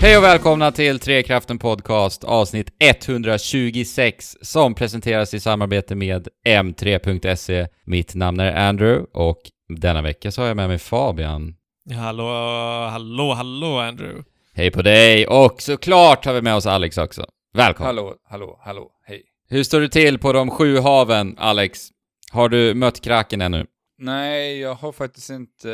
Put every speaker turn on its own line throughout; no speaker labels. Hej och välkomna till Trekraften Podcast avsnitt 126 som presenteras i samarbete med m3.se. Mitt namn är Andrew och denna vecka så har jag med mig Fabian.
Hallå, hallå, hallå Andrew.
Hej på dig och såklart har vi med oss Alex också. Välkommen!
Hallå, hallå, hallå, hej.
Hur står det till på de sju haven, Alex? Har du mött kraken ännu?
Nej, jag har faktiskt inte...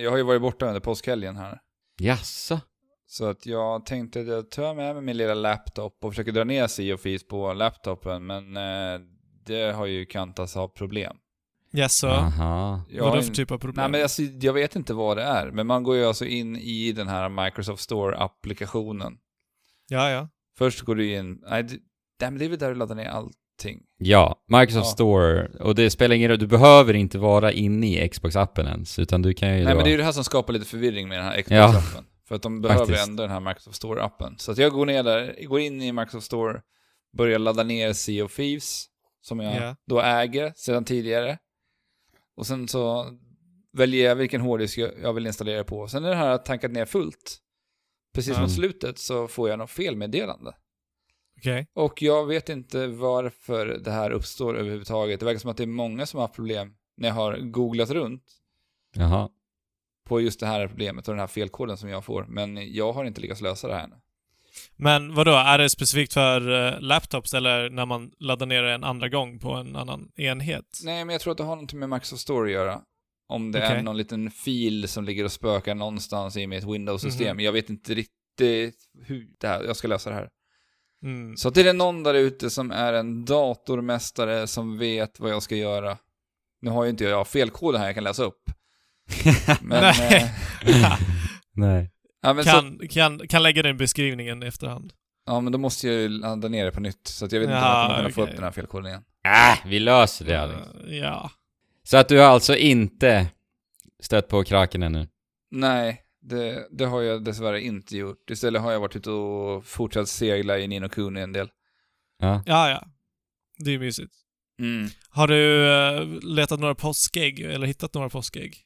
Jag har ju varit borta under påskhelgen här.
Jaså?
Så att jag tänkte att jag tar med mig min lilla laptop och försöker dra ner si och fis på laptopen, men eh, det har ju kantats av problem.
Jaså?
Aha.
Jag har
Vadå
in-
för typ av problem?
Nej men alltså, jag vet inte vad det är, men man går ju alltså in i den här Microsoft Store-applikationen.
Ja, ja. Först...
Först går du in... Nej, det, nej, men det är väl där du laddar ner allting.
Ja, Microsoft
Ja.
Store. Och det spelar ingen roll, du behöver inte vara inne i Xbox-appen ens, utan du kan ju
Nej
då...
men det är ju det här som skapar lite förvirring med den här
Ja.
Xbox-appen. För att de behöver
Faktiskt.
ändå den här Microsoft Store-appen. Så att jag går ner där, går in i Microsoft Store, börjar ladda ner Sea of Thieves, som jag
Ja.
då äger sedan tidigare. Och sen så väljer jag vilken hårddisk jag jag vill installera det på. Sen när det här har tankat ner fullt, precis
Mm.
mot slutet, så får jag något felmeddelande.
Okej.
Och jag vet inte varför det här uppstår överhuvudtaget. Det verkar som att det är många som har haft problem när jag har googlat runt
Jaha.
på just det här problemet och den här felkoden som jag får. Men jag har inte lyckats lösa det här ännu.
Men vadå, är det specifikt för eh, laptops eller när man laddar ner det en andra gång på en annan enhet?
Nej, men jag tror att det har något med Microsoft Store att göra. Om det är
Okej.
någon liten fil som ligger och spökar någonstans i mitt Windows-system.
Mhm.
Jag vet inte riktigt hur det här, jag ska lösa det här.
Mm.
Så att är det någon där ute som är en datormästare som vet vad jag ska göra. Nu har ju inte jag felkoden här jag kan läsa upp. Men,
Nej.
eh,
Nej.
ja, men så,
kan, kan, kan lägga den beskrivningen i efterhand.
ja, men då måste jag ju ladda ner det på nytt. Så att jag vet inte om
Ja,
jag kommer kunna få
okej.
upp den här felkoden igen.
Äh, vi löser det Alex.
Eh, ja.
Så att du har alltså inte stött på kraken ännu?
Nej, det, det har jag dessvärre inte gjort. Istället har jag varit ute och fortsatt segla i Nino Kuni en del.
Ja.
Ja, ja. Det är mysigt.
Mm.
Har du eh, letat några påskägg eller hittat några påskägg?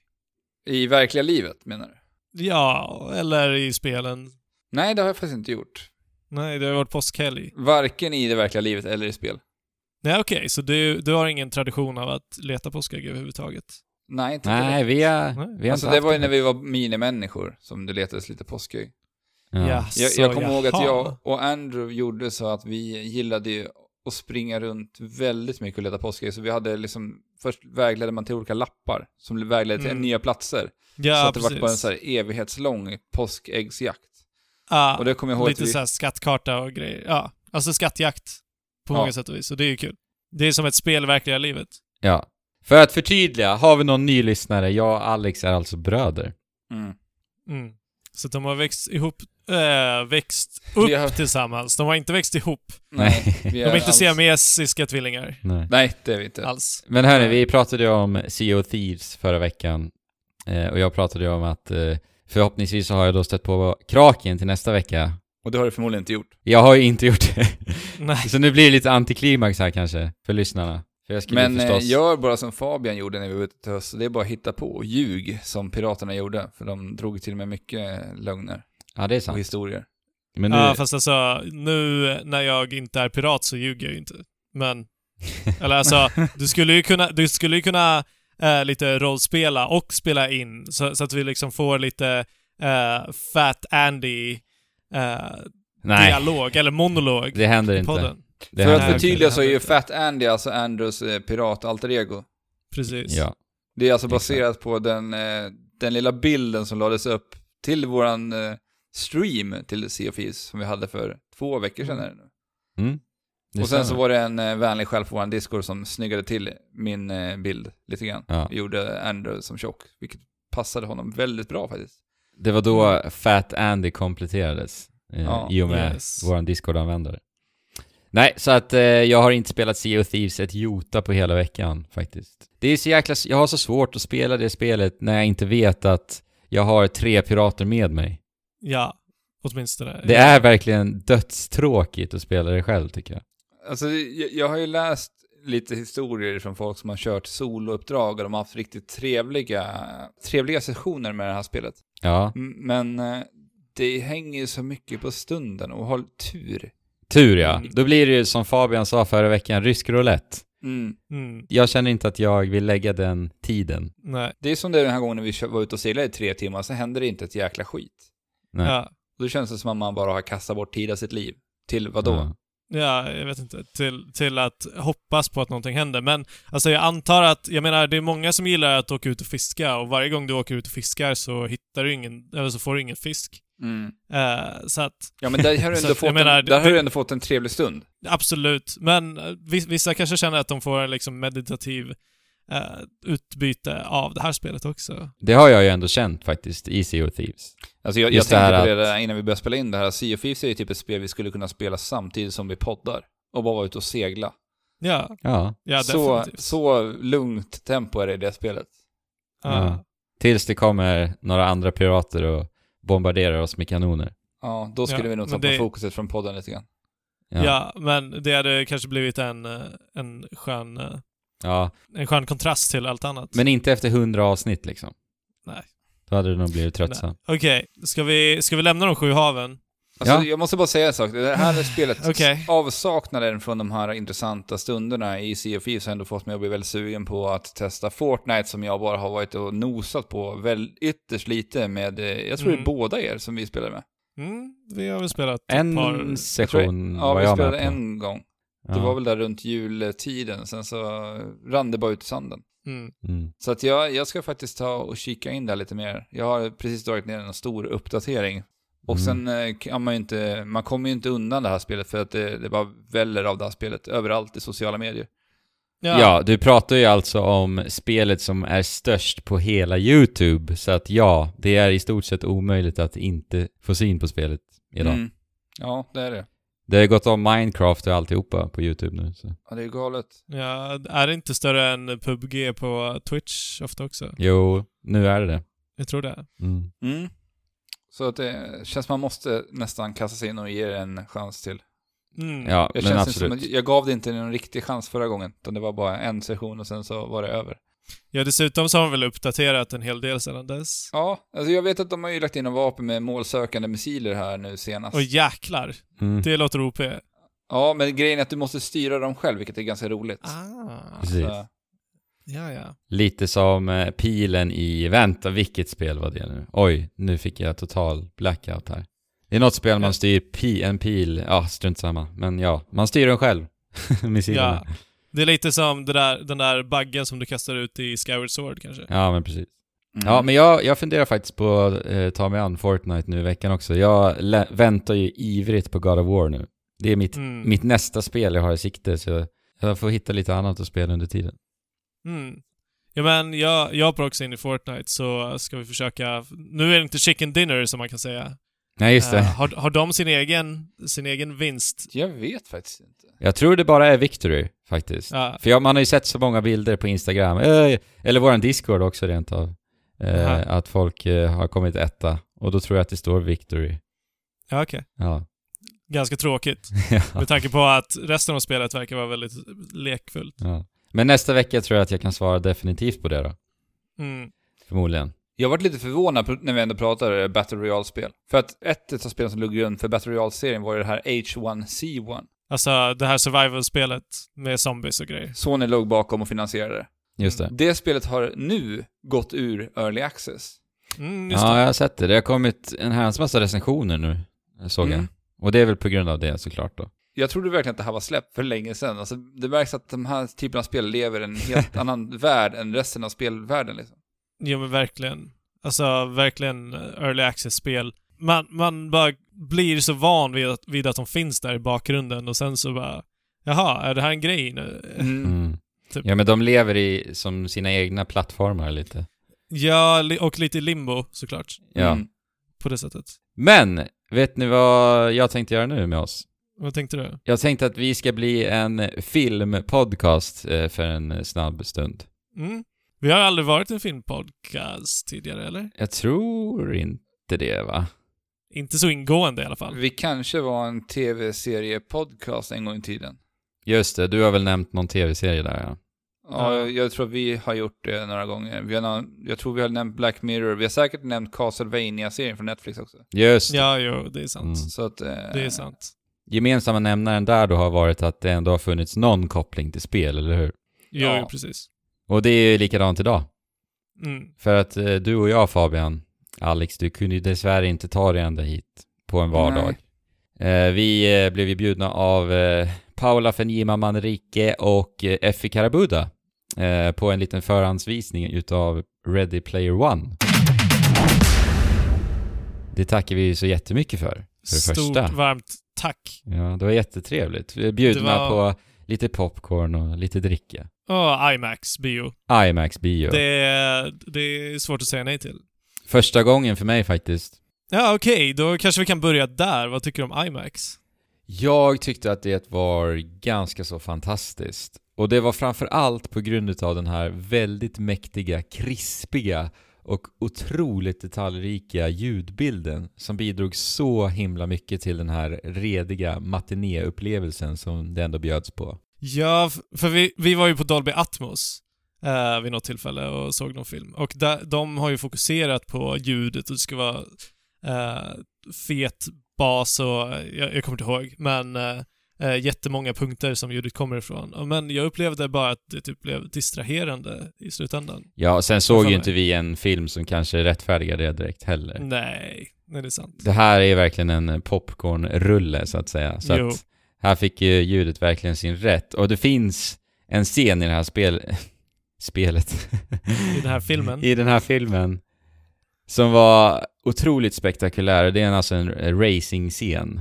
I verkliga livet menar du?
Ja, eller i spelen.
Nej, det har jag faktiskt inte gjort.
Nej, det har ju varit påskhelg.
Varken i det verkliga livet eller i spel.
Nej, okej, så du, du har ingen tradition av att leta påskägg överhuvudtaget?
Nej, inte
Nej, vi har,
Nej.
vi har
Alltså
inte
det
haft
var ju när vi var minimänniskor som det letades lite påskägg.
Ja.
Jag,
Jaså,
jag kommer ihåg att
jaha.
jag och Andrew gjorde så att vi gillade ju att springa runt väldigt mycket och leta påskägg. Så vi hade liksom, först vägledde man till olika lappar som vägledde till
Mm.
nya platser.
Ja,
så att det
precis.
var bara en så här evighetslång påskäggsjakt.
Ja,
Och det kommer jag ihåg
lite
att vi...
så här skattkarta och grejer. Ja, alltså skattjakt på
Ja.
många sätt och vis. Och det är ju kul. Det är som ett spel i verkliga livet.
ja. För att förtydliga, har vi någon ny lyssnare? Jag och Alex är alltså bröder.
Mm.
Mm. Så de har växt ihop, äh, växt upp
Vi har-
tillsammans. De har inte växt ihop.
Nej, vi
De är inte
alls-
siamesiska tvillingar
Nej.
Nej, det är vi inte.
alls.
Men hörni, vi pratade ju om Sea of Thieves förra veckan. Eh, och jag pratade ju om att eh, förhoppningsvis så har jag då stött på kraken till nästa vecka.
Och det har du förmodligen inte gjort.
Jag har ju inte gjort det.
Nej.
Så nu blir det lite antiklimax här kanske, för lyssnarna. För jag skulle
Men
ju
eh,
förstås...
gör bara som Fabian gjorde när vi var ute till höst. Det är bara att hitta på och ljug som piraterna gjorde. För de drog till med mycket lögner
Ja, det är
och
sant.
historier.
Men nu...
Ja, fast alltså nu när jag inte är pirat så ljuger jag ju inte. Men, eller alltså, du skulle ju kunna, du skulle ju kunna eh, lite rollspela och spela in så, så att vi liksom får lite eh, Fat Andy eh,
Nej,
dialog, eller monolog
det händer
i
inte.
podden.
Det
för
händer
att
här-
inte.
förtydliga
okej,
så är
det här
ju
vet
Fat Andy alltså Andrews eh, pirat-alter ego.
Precis.
Ja.
Det är alltså
Exakt.
baserat på den, eh, den lilla bilden som lades upp till våran eh, stream till Sea of Thieves som vi hade för två veckor sedan.
Mm.
är det nu.
Mm. Det
Och sen så
stämmer.
var det en eh, vänlig själ på vår Discord som snyggade till min eh, bild lite grann.
Ja.
Gjorde Andrew som tjock, vilket passade honom väldigt bra faktiskt.
Det var då Fat Andy kompletterades eh,
Ja.
i och med
Yes.
vår Discord-användare. Nej, så att eh, jag har inte spelat Sea of Thieves ett jota på hela veckan faktiskt. Det är så jäkla... s- Jag har så svårt att spela det spelet när jag inte vet att jag har tre pirater med mig.
Ja, åtminstone.
Det
Mm.
är verkligen dödstråkigt att spela det själv tycker jag.
Alltså, jag, jag har ju läst lite historier från folk som har kört solouppdrag och de har haft riktigt trevliga, trevliga sessioner med det här spelet.
Ja,
M- Men eh, det hänger ju så mycket på stunden och har tur.
Tur ja. Då blir det ju som Fabian sa förra veckan, rysk roulette.
Mm.
Mm,
Jag känner inte att jag vill lägga den tiden.
nej.
Det är som det den här gången när vi kö- var ute och seglade i tre timmar, så händer det inte ett jäkla skit.
Nej.
Ja.
Då känns det som att man bara har kastat bort tid av sitt liv. Till vad då?
Ja.
Ja, jag vet inte. Till, till att hoppas på att någonting händer. Men alltså jag antar att, jag menar det är många som gillar att åka ut och fiska och varje gång du åker ut och fiskar så hittar du ingen, eller så får du ingen fisk.
Mm.
Eh, så att
Ja, men där har du
Så
ändå,
att jag
fått,
menar,
en, där har
det-
du ändå fått en trevlig stund.
absolut, men eh, vis- vissa kanske känner att de får en liksom meditativ eh, utbyte av det här spelet också.
Det har jag ju ändå känt faktiskt i Sea of Thieves.
Alltså jag, jag
Just
tänkte
det här
på det
att-
där innan vi började spela in det här. Sea of Thieves är ju typ ett spel vi skulle kunna spela samtidigt som vi poddar. Och bara vara ute och segla.
Ja,
Ja.
ja
så,
definitivt.
så lugnt tempo är det i det spelet.
Ja.
Ja. Tills det kommer några andra pirater och bombarderar oss med kanoner.
Ja, då skulle
Ja,
vi nog
men
tappa
det-
fokuset från podden lite grann.
Ja.
Ja. men det hade kanske blivit en, eh, en, skön, eh,
Ja,
en skön kontrast till allt annat.
men inte efter hundra avsnitt liksom.
Nej.
Då hade du nog blivit
Typ
tröttsam.
Okej, ska, vi, ska vi lämna de sju haven?
Alltså,
Ja.
Jag måste bara säga en sak. Det här spelet,
Okej.
avsaknaden från de här intressanta stunderna i Sea of Thieves har ändå fått mig att bli väldigt sugen på att testa Fortnite som jag bara har varit och nosat på väl, ytterst lite med, eh, jag tror det
Mm.
är båda er som vi spelade med.
Mm, vi har väl spelat
En
ett par...
Jag tror-
session
ja,
var
vi
jag med
spelade
på.
en gång.
ja.
Det var väl där runt jultiden, sen så rann det bara ut i sanden.
Mm.
Mm.
Så att jag, jag ska faktiskt ta och kika in där lite mer. Jag har precis dragit ner en stor uppdatering. Och
Mm.
sen eh, kan man ju inte, man kommer ju inte undan det här spelet för att det, det bara väller av det här spelet överallt i sociala medier.
Ja. du pratar ju alltså om spelet som är störst på hela YouTube. Så att ja, det är i stort sett omöjligt att inte få syn på spelet idag.
Mm. Ja, det är det.
Det har ju gått om Minecraft och alltihopa på YouTube nu. Så.
Ja, det är galet.
Ja, är det inte större än PubG på Twitch ofta också?
Jo, nu är det det.
Jag tror det.
Mm.
Mm. Så att det känns som man måste nästan kasta sig in och ge det en chans till.
Mm.
Ja,
Jag,
men
känns inte som
absolut.
att jag gav det inte någon riktig chans förra gången, utan det var bara en session och sen så var det över.
ja, dessutom så har de väl uppdaterat en hel del sedan dess.
Ja, alltså jag vet att de har ju lagt in en vapen med målsökande missiler här nu senast.
Och jäklar,
Mm.
det låter OP.
Ja, men grejen är att du måste styra dem själv, vilket är ganska roligt. mm.
Ah,
Precis.
Så,
ja, ja.
Lite som eh, pilen i, vänta vilket spel var det nu? Oj, nu fick jag total blackout här. Det är något spel man
Ja.
styr pi, en pil, ja strunt samma, men ja, man styr den själv. Missilerna.
ja. Det är lite som det där, den där baggen som du kastar ut i Skyward Sword kanske.
Ja, men precis.
mm.
Ja, men jag, jag funderar faktiskt på att eh, ta mig an Fortnite nu i veckan också. Jag lä- väntar ju ivrigt på God of War nu. Det är mitt,
Mm.
mitt nästa spel jag har i sikte, så jag- jag får hitta lite annat att spela under tiden.
Mm. Ja men jag, jag hoppar också in i Fortnite så ska vi försöka... Nu är det inte chicken dinner som man kan säga.
Nej, just det.
Eh, har, har de sin egen, sin egen vinst?
Jag vet faktiskt inte.
Jag tror det bara är Victory, faktiskt.
Ja.
För jag, man har ju sett så många bilder på Instagram, eh, eller våran Discord också rent av,
Aha.
eh, att folk eh, har kommit etta. Och då tror jag att det står Victory.
Ja, okej.
Ja.
Ganska tråkigt.
ja.
Med tanke på att resten av spelet verkar vara väldigt lekfullt.
ja. Men nästa vecka tror jag att jag kan svara definitivt på det då.
Mm.
Förmodligen.
Jag varit lite förvånad på- när vi ändå pratade Battle Royale-spel. För att ett av spelen som låg grund för Battle Royale-serien var ju det här H1C1.
Alltså det här survival-spelet med zombies och grejer.
Sony låg bakom och finansierade det.
Just
Mm,
det.
Det spelet har nu gått ur Early Access.
Mm, just
Ja,
det.
jag har sett det. Det har kommit en herrans massa recensioner nu, såg jag.
Mm.
Och det är väl på grund av det såklart då.
Jag trodde verkligen att det här var släppt för länge sedan. Alltså, det märks att de här typen av spel lever i en helt annan värld än resten av spelvärlden. Liksom.
Jo men verkligen. Alltså verkligen eh, early access-spel. Man, man bara blir så van vid att, vid att de finns där i bakgrunden och sen så bara Jaha, är det här en grej nu?
Mm.
Typ.
Ja, men de lever i som sina egna plattformar lite.
Ja, li- och lite limbo såklart.
Ja.
Mm.
På det sättet.
Men, vet ni vad jag tänkte göra nu med oss?
Vad tänkte du?
Jag tänkte att vi ska bli en filmpodcast eh, för en snabb stund.
Mm. Vi har aldrig varit en filmpodcast tidigare, eller?
Jag tror inte det va?
Inte så ingående i alla fall.
Vi kanske var en tv-serie-podcast en gång i tiden.
Just det, du har väl nämnt någon tv-serie där ja.
Ja,
Ja.
jag- jag tror vi har gjort det några gånger. Vi har, nå- jag tror vi har nämnt Black Mirror. Vi har säkert nämnt Castlevania-serien från Netflix också.
Just det.
Ja, jo, det är sant.
Mm.
Så att... Eh,
Det är sant.
Gemensamma nämnaren där då har varit att det ändå har funnits någon koppling till spel, eller hur?
Jo,
Ja.
jo, precis.
Och det är ju likadant idag.
Mm.
För att eh, du och jag Fabian, Alex, du kunde ju dessvärre inte ta dig ända hit på en vardag. Eh, vi eh, blev ju bjudna av eh, Paula Fenjima Manrique och eh, Effie Karabuda eh, på en liten förhandsvisning utav Ready Player One. Det tackar vi ju så jättemycket för. för det
Stort,
första.
varmt tack.
Ja, det var jättetrevligt. Vi är bjudna
Det var-
på lite popcorn och lite dricka.
Åh, IMAX bio.
IMAX bio.
Det, är- det är svårt att säga nej till.
Första gången för mig faktiskt.
Ja, okej, då kanske vi kan börja där. Vad tycker du om IMAX?
Jag tyckte att det var ganska så fantastiskt. Och det var framför allt på grund av den här väldigt mäktiga, krispiga och otroligt detaljrika ljudbilden som bidrog så himla mycket till den här rediga matinéupplevelsen som det ändå bjöds på.
Ja, f- för vi, vi var ju på Dolby Atmos eh, vid något tillfälle och såg någon film. Och där, de har ju fokuserat på ljudet och det ska vara eh, fet bas och jag, jag kommer inte ihåg, men eh, eh, jättemånga punkter som ljudet kommer ifrån. Och Men jag upplevde bara att det typ blev distraherande i slutändan.
Ja, sen såg
Fan,
ju
nej.
inte vi en film som kanske rättfärdigar det direkt heller.
Nej, nej det är sant.
Det här är verkligen en popcornrulle så att säga. Så
Jo.
att här fick ju ljudet verkligen sin rätt. Och det finns en scen i det här spel... spelet.
I den här filmen.
I den här filmen. Som var otroligt spektakulär. Det är alltså en eh, racing-scen.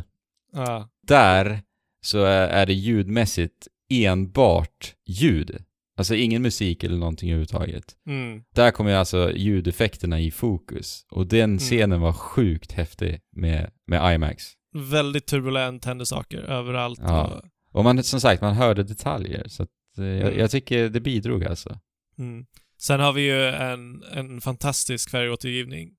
Ja.
Där så är är det ljudmässigt enbart ljud. Alltså ingen musik eller någonting överhuvudtaget.
Mm.
Där kommer ju alltså ljudeffekterna i fokus. Och den scenen var sjukt häftig med, med IMAX.
Väldigt turbulent, händer saker överallt.
Ja.
Och,
Och man, som sagt, man hörde detaljer. Så att, eh, jag,
Mm.
jag tycker det bidrog alltså.
Mm. Sen har vi ju en, en fantastisk färgåtergivning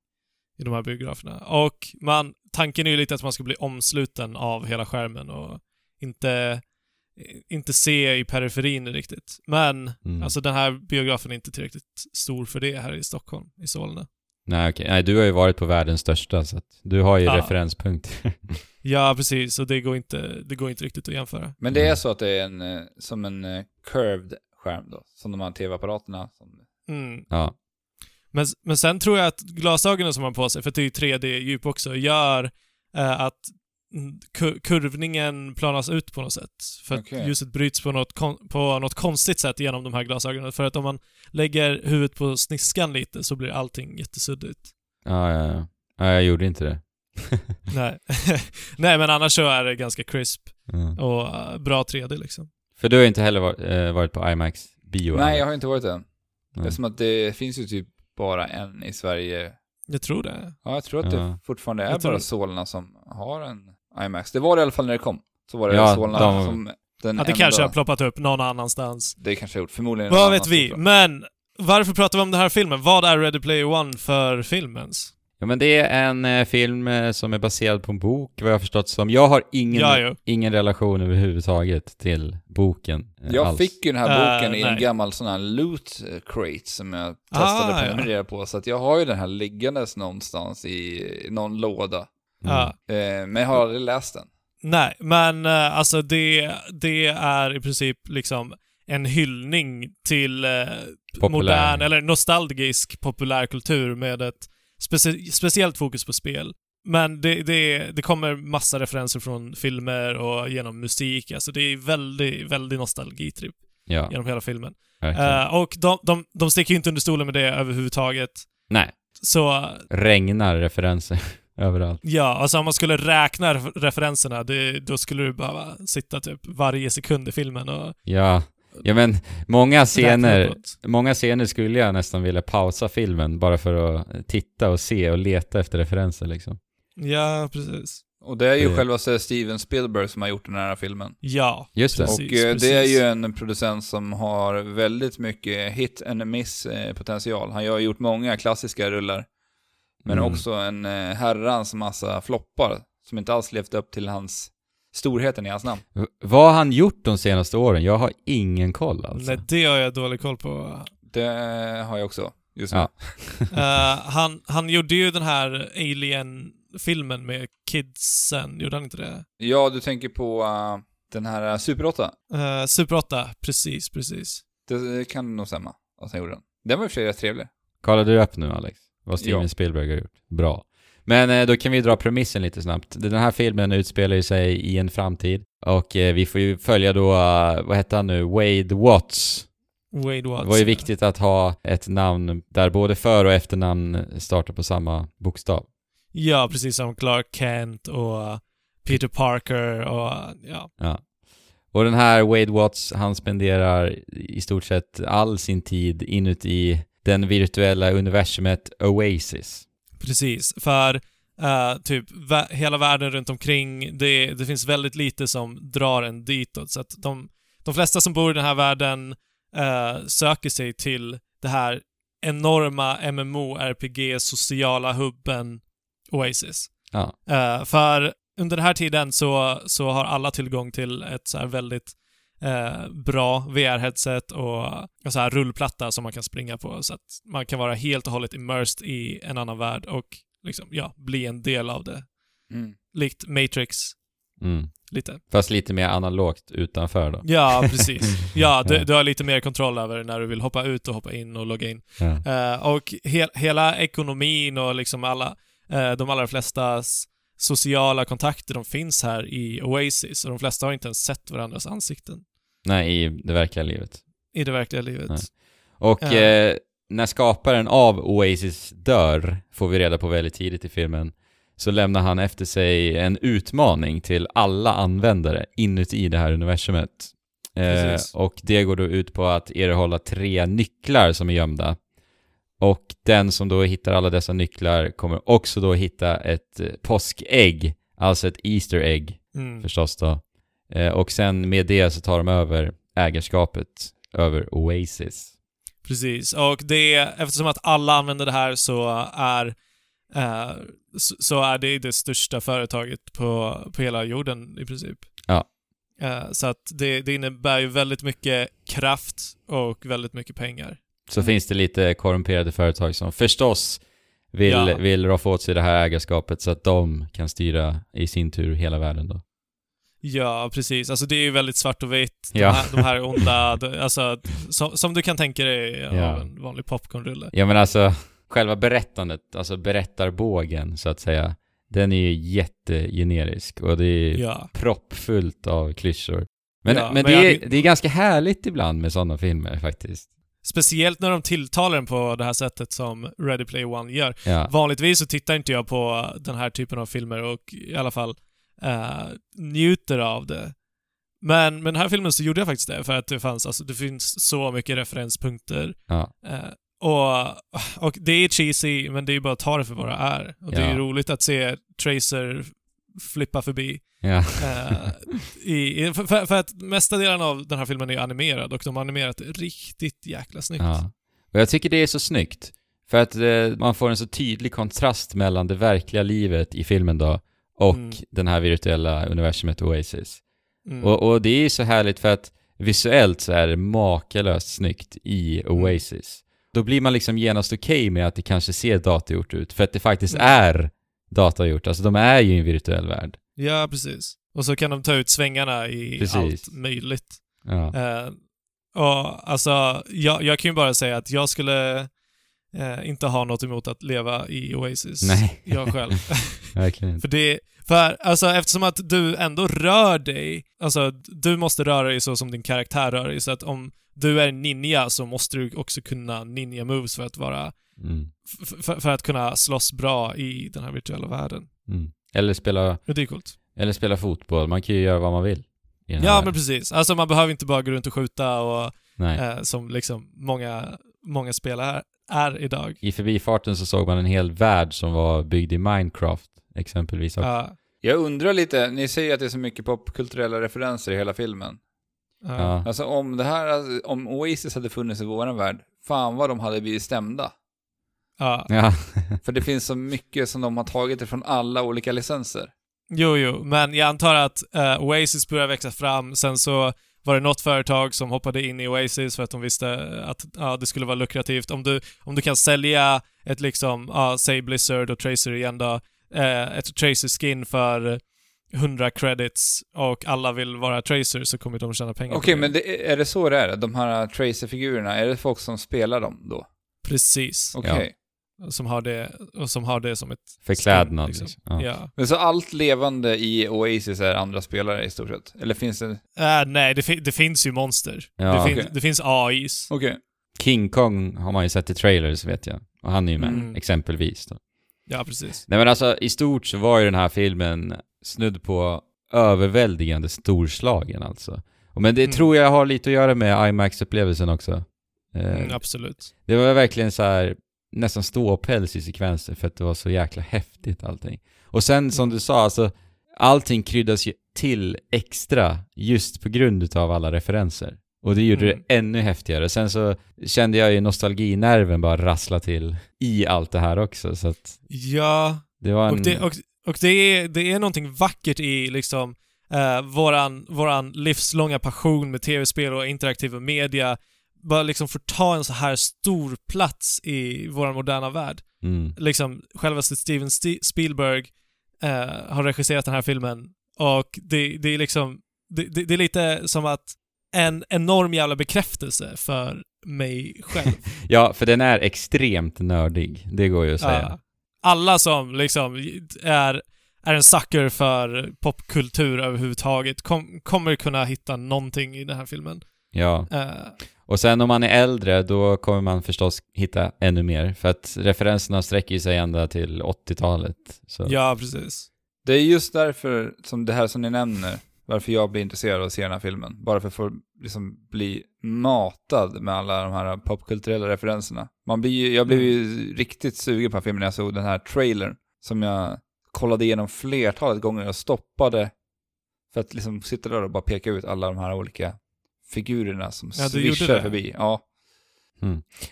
i de här biograferna. Och man, tanken är ju lite att man ska bli omsluten av hela skärmen och inte, inte se i periferin riktigt. Men
Mm.
alltså den här biografen är inte tillräckligt stor för det här i Stockholm, i Solna.
Nej, okej. Nej, du har ju varit på världens största så att du har ju
Ja.
referenspunkt.
Ja, precis. Och det går inte, det går inte riktigt att jämföra.
Men det är så att det är en, eh, som en eh, curved skärm då, som de här tv-apparaterna. Som,
Mm.
ja.
Men, men sen tror jag att glasögonen som man har på sig, för att det är ju 3D-djup också, gör eh, att mm, ku- kurvningen planas ut på något sätt. För att
Okej.
ljuset bryts på något, kon- på något konstigt sätt genom de här glasögonen. För att om man lägger huvudet på sniskan lite så blir allting jättesuddigt.
Ja, ja, ja. ja, jag gjorde inte det.
Nej. Nej, men annars så är det ganska crisp
Ja.
och eh, bra 3D liksom.
För du har ju inte heller var, eh, varit på IMAX bio.
nej,
eller?
jag har inte varit än.
Nej.
Eftersom att det finns ju typ bara en i Sverige.
Jag tror det.
Ja, jag tror att
Ja.
det fortfarande är
Jag tror-
bara Solna som har en IMAX. Det var det i alla fall när det kom. Så var det
Ja,
Solna
de-
som den
Ja, det
enda.
kanske har ploppat upp någon annanstans.
Det kanske har gjort, förmodligen. någon
Vad vet
annan
vi?
som-
Men varför pratar vi om den här filmen? Vad är Ready Player One för film ens?
Ja, men det är en eh, film eh, som är baserad på en bok, vad jag har förstått som. Jag har ingen, Mm.
Ja, ja.
ingen relation överhuvudtaget till boken. eh,
Jag
alls.
fick ju den här
Eh,
boken i en
nej.
gammal sån här loot eh, crate som jag
Ah,
testade
ja.
att prenumerera på. Så att jag har ju den här liggandes någonstans i någon låda.
Ja.
Eh, men jag har aldrig läst den.
Nej, men eh, alltså det, det är i princip liksom en hyllning till eh,
Populär.
modern eller nostalgisk populärkultur med ett specie- speciellt fokus på spel. Men det, det, det kommer massa referenser från filmer och genom musik. Alltså det är väldigt, väldigt nostalgitripp
Ja,
genom hela filmen.
verkligen.
Eh, och de, de, de sticker ju inte under stolen med det överhuvudtaget.
Nej,
Så
regnar referenser överallt.
Ja, alltså om man skulle räkna ref- referenserna, det, då skulle du behöva sitta typ varje sekund i filmen och
Ja, ja men många
räkna
scener,
uppåt.
många scener skulle jag nästan vilja pausa filmen bara för att eh, titta och se och leta efter referenser liksom.
Ja, precis.
Och det är ju
Det-
självaste Steven Spielberg som har gjort den här filmen.
Ja.
Just det.
Precis.
och eh, det är
precis.
ju en producent som har väldigt mycket hit and miss eh, potential. Han har gjort många klassiska rullar. Men
Mm.
också en eh, herrans massa floppar som inte alls levt upp till hans storheten i hans namn.
V- Vad har han gjort de senaste åren? Jag har ingen koll alltså.
Nej, det har jag dålig koll på.
Det har jag också just nu.
Ja.
Eh, han, han gjorde ju den här Alien-filmen med kidsen, gjorde han inte det?
Ja, du tänker på eh, den här eh, Super 8.
Eh, Super 8, precis, precis.
Det kan nog stämma att han gjorde den. Den var i och för sig rätt trevlig.
Kollade du upp nu Alex? Vad Steven
Ja.
Spielberg har gjort? Bra. Men eh, då kan vi dra premissen lite snabbt. Den här filmen utspelar ju sig i en framtid och eh, vi får ju följa då, eh, vad hette han nu, Wade Watts.
Wade Watts.
Det var ju viktigt att ha ett namn där både för och efternamn startar på samma bokstav.
Ja, precis som Clark Kent och Peter Parker och ja.
Och den här Wade Watts, han spenderar i stort sett all sin tid inuti den virtuella universumet Oasis.
Precis, för eh, typ vä- hela världen runt omkring, det, det finns väldigt lite som drar en ditåt. Så att de, de flesta som bor i den här världen eh, söker sig till det här enorma MMORPG-sociala hubben Oasis.
Ja.
Eh, för under den här tiden så, så har alla tillgång till ett så här väldigt eh, bra VR-headset och en så här rullplatta som man kan springa på så att man kan vara helt och hållet immersed i en annan värld och liksom, ja, bli en del av det.
Mm.
Likt Matrix,
Mm.
lite.
Fast lite mer analogt utanför då.
Ja, precis. Ja, du,
Ja.
du har lite mer kontroll över när du vill hoppa ut och hoppa in och logga in.
Ja.
Eh, och he- hela ekonomin och liksom alla, eh, de allra flesta s- sociala kontakter, de finns här i Oasis och de flesta har inte ens sett varandras ansikten
Nej, i det verkliga livet.
i det verkliga livet.
Nej. Och
Ja.
eh, när skaparen av Oasis dör, får vi reda på väldigt tidigt i filmen, så lämnar han efter sig en utmaning till alla användare inuti det här universumet. Eh,
Precis.
och det går då ut på att erhålla tre nycklar som är gömda. Och den som då hittar alla dessa nycklar kommer också då hitta ett eh, påskägg, alltså ett Easter egg,
Mm.
förstås då. Eh, och sen med det så tar de över ägarskapet över Oasis.
Precis, och det, eftersom att alla använder det här så är, eh, så, så är det det största företaget på, på hela jorden i princip.
Ja.
Eh, så att det, det innebär ju väldigt mycket kraft och väldigt mycket pengar.
Så finns det lite korrumperade företag som förstås vill,
Ja.
vill roffa åt sig det här ägarskapet så att de kan styra i sin tur hela världen då.
Ja, precis. Alltså det är ju väldigt svart och vitt. De,
Ja.
här, de här onda, de- alltså som, som du kan tänka dig
Ja.
av en vanlig popcornrulle.
Ja men alltså, själva berättandet, alltså berättarbågen så att säga, den är ju jättegenerisk och det är
Ja.
proppfullt av klyschor. Men,
Ja,
men,
men
det,
jag
är,
hade-
det är ganska härligt ibland med sådana filmer faktiskt.
Speciellt när de tilltalar den på det här sättet som Ready Play One gör.
Ja.
Vanligtvis så tittar inte jag på den här typen av filmer och i alla fall eh, njuter av det. Men med den här filmen så gjorde jag faktiskt det för att det fanns, alltså det finns så mycket referenspunkter.
Ja.
Eh, och, och det är cheesy, men det är bara att ta det för vad det är. Och det är
Ja.
ju roligt att se Tracer flippa förbi.
ja.
eh, i, i, för, för att mesta delen av den här filmen är animerad och de har animerat riktigt jäkla snyggt.
Ja. Och jag tycker det är så snyggt. För att eh, man får en så tydlig kontrast mellan det verkliga livet i filmen då och
Mm.
den här virtuella universumet Oasis.
Mm.
Och, och det är ju så härligt för att visuellt så är det makalöst snyggt i
Mm.
Oasis. Då blir man liksom genast okej med att det kanske ser datagjort ut, för att det faktiskt
Mm.
är datagjort. Alltså de är ju i en virtuell värld.
Ja, precis. Och så kan de ta ut svängarna i
Precis.
allt möjligt.
Ja.
Eh, och alltså, jag, jag kan ju bara säga att jag skulle eh, inte ha något emot att leva i Oasis.
Nej.
Jag själv.
Verkligen inte.
för det, för alltså eftersom att du ändå rör dig, alltså du måste röra dig så som din karaktär rör dig, så att om du är ninja så måste du också kunna ninja moves för att vara,
Mm.
f- för, för att kunna slåss bra i den här virtuella världen.
Mm. Eller, spela,
Och det är coolt.
eller spela fotboll, man kan ju göra vad man vill. i den här
Ja,
världen.
men precis. Alltså man behöver inte bara gå runt och skjuta och
Nej.
eh, som liksom många, många spelare är idag.
I förbifarten så såg man en hel värld som var byggd i Minecraft, exempelvis. också.
Ja,
Jag undrar lite, ni säger att det är så mycket popkulturella referenser i hela filmen.
ja.
Ja.
Alltså om det här, alltså, om Oasis hade funnits i våran värld, fan vad de hade blivit stämda.
ja.
Ja.
För det finns så mycket som de har tagit ifrån alla olika licenser.
Jo, jo, men jag antar att eh, Oasis började växa fram, sen så var det något företag som hoppade in i Oasis för att de visste att ja, det skulle vara lukrativt. Om du, om du kan sälja ett liksom, ja, säg Blizzard och Tracer igen då, eh, ett Tracer-skin för 100 credits och alla vill vara Tracer så kommer de tjäna pengar på
Okej,
det.
men det, är det så det är? De här Tracer-figurerna, är det folk som spelar dem då?
Precis.
Okej.
Ja.
Som har det, och som har det som ett...
Förklädnad.
Liksom.
Liksom.
Ja.
Ja.
Men så allt levande i Oasis är andra spelare i stort sett? Eller finns det...
Eh, nej, det, fi- det finns ju monster.
Ja,
det,
okej.
finns, det finns AIs.
Okej.
King Kong har man ju sett i trailers vet jag. Och han är ju med,
Mm.
exempelvis. Då.
Ja, precis.
Nej men alltså i stort så var ju den här filmen snudd på överväldigande storslagen alltså. Och Men det
Mm.
tror jag har lite att göra med IMAX-upplevelsen också. Eh,
Mm, absolut.
Det var verkligen så här nästan ståpäls i sekvenser för att det var så jäkla häftigt allting. Och sen som du sa, alltså allting kryddas ju till extra just på grund utav alla referenser. Och det gjorde
Mm.
det ännu häftigare. Sen så kände jag ju nostalginerven bara rassla till i allt det här också. Så att
Ja,
det var en...
och, det, och, och det, är, det är någonting vackert i liksom eh, våran, våran livslånga passion med tv-spel och interaktiva media bara liksom får ta en så här stor plats i vår moderna värld.
mm.
Liksom, självaste Steven Sti- Spielberg eh, har regisserat den här filmen och det, det är liksom, det, det, det är lite som att en enorm jävla bekräftelse för mig själv.
Ja, för den är extremt nördig. Det går ju att
Ja.
säga.
Eh, Alla som liksom är, är en sucker för popkultur överhuvudtaget kom, kommer kunna hitta någonting i den här filmen.
Ja.
Eh,
Och sen om man är äldre, då kommer man förstås hitta ännu mer. För att referenserna sträcker ju sig ända till 80-talet. Så.
ja, precis.
Det är just därför, som det här som ni nämner, varför jag blir intresserad av att se den här filmen. Bara för att få liksom, bli matad med alla de här popkulturella referenserna. Man blir, ju- jag blev ju
Mm.
riktigt sugen på den här filmen när jag såg den här trailern. Som jag kollade igenom flertalet gånger och stoppade för att liksom sitta där och bara peka ut alla de här olika figurerna som
Ja, du gjorde
svischar
det.
förbi. Ja,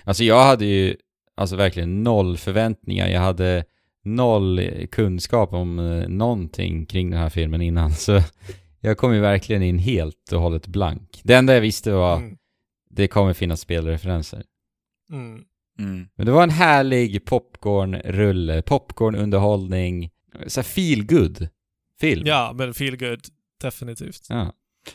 Alltså jag hade ju alltså verkligen noll förväntningar. Jag hade noll eh, kunskap om eh, någonting kring den här filmen innan. Så jag kom ju verkligen in helt och hållet blank. Det enda jag visste var
Mm.
det kommer finnas spelreferenser.
Mm.
mm.
Men det var en härlig popcornrulle, popcornunderhållning, så här feel good film
Ja, men feel good definitivt.
ja.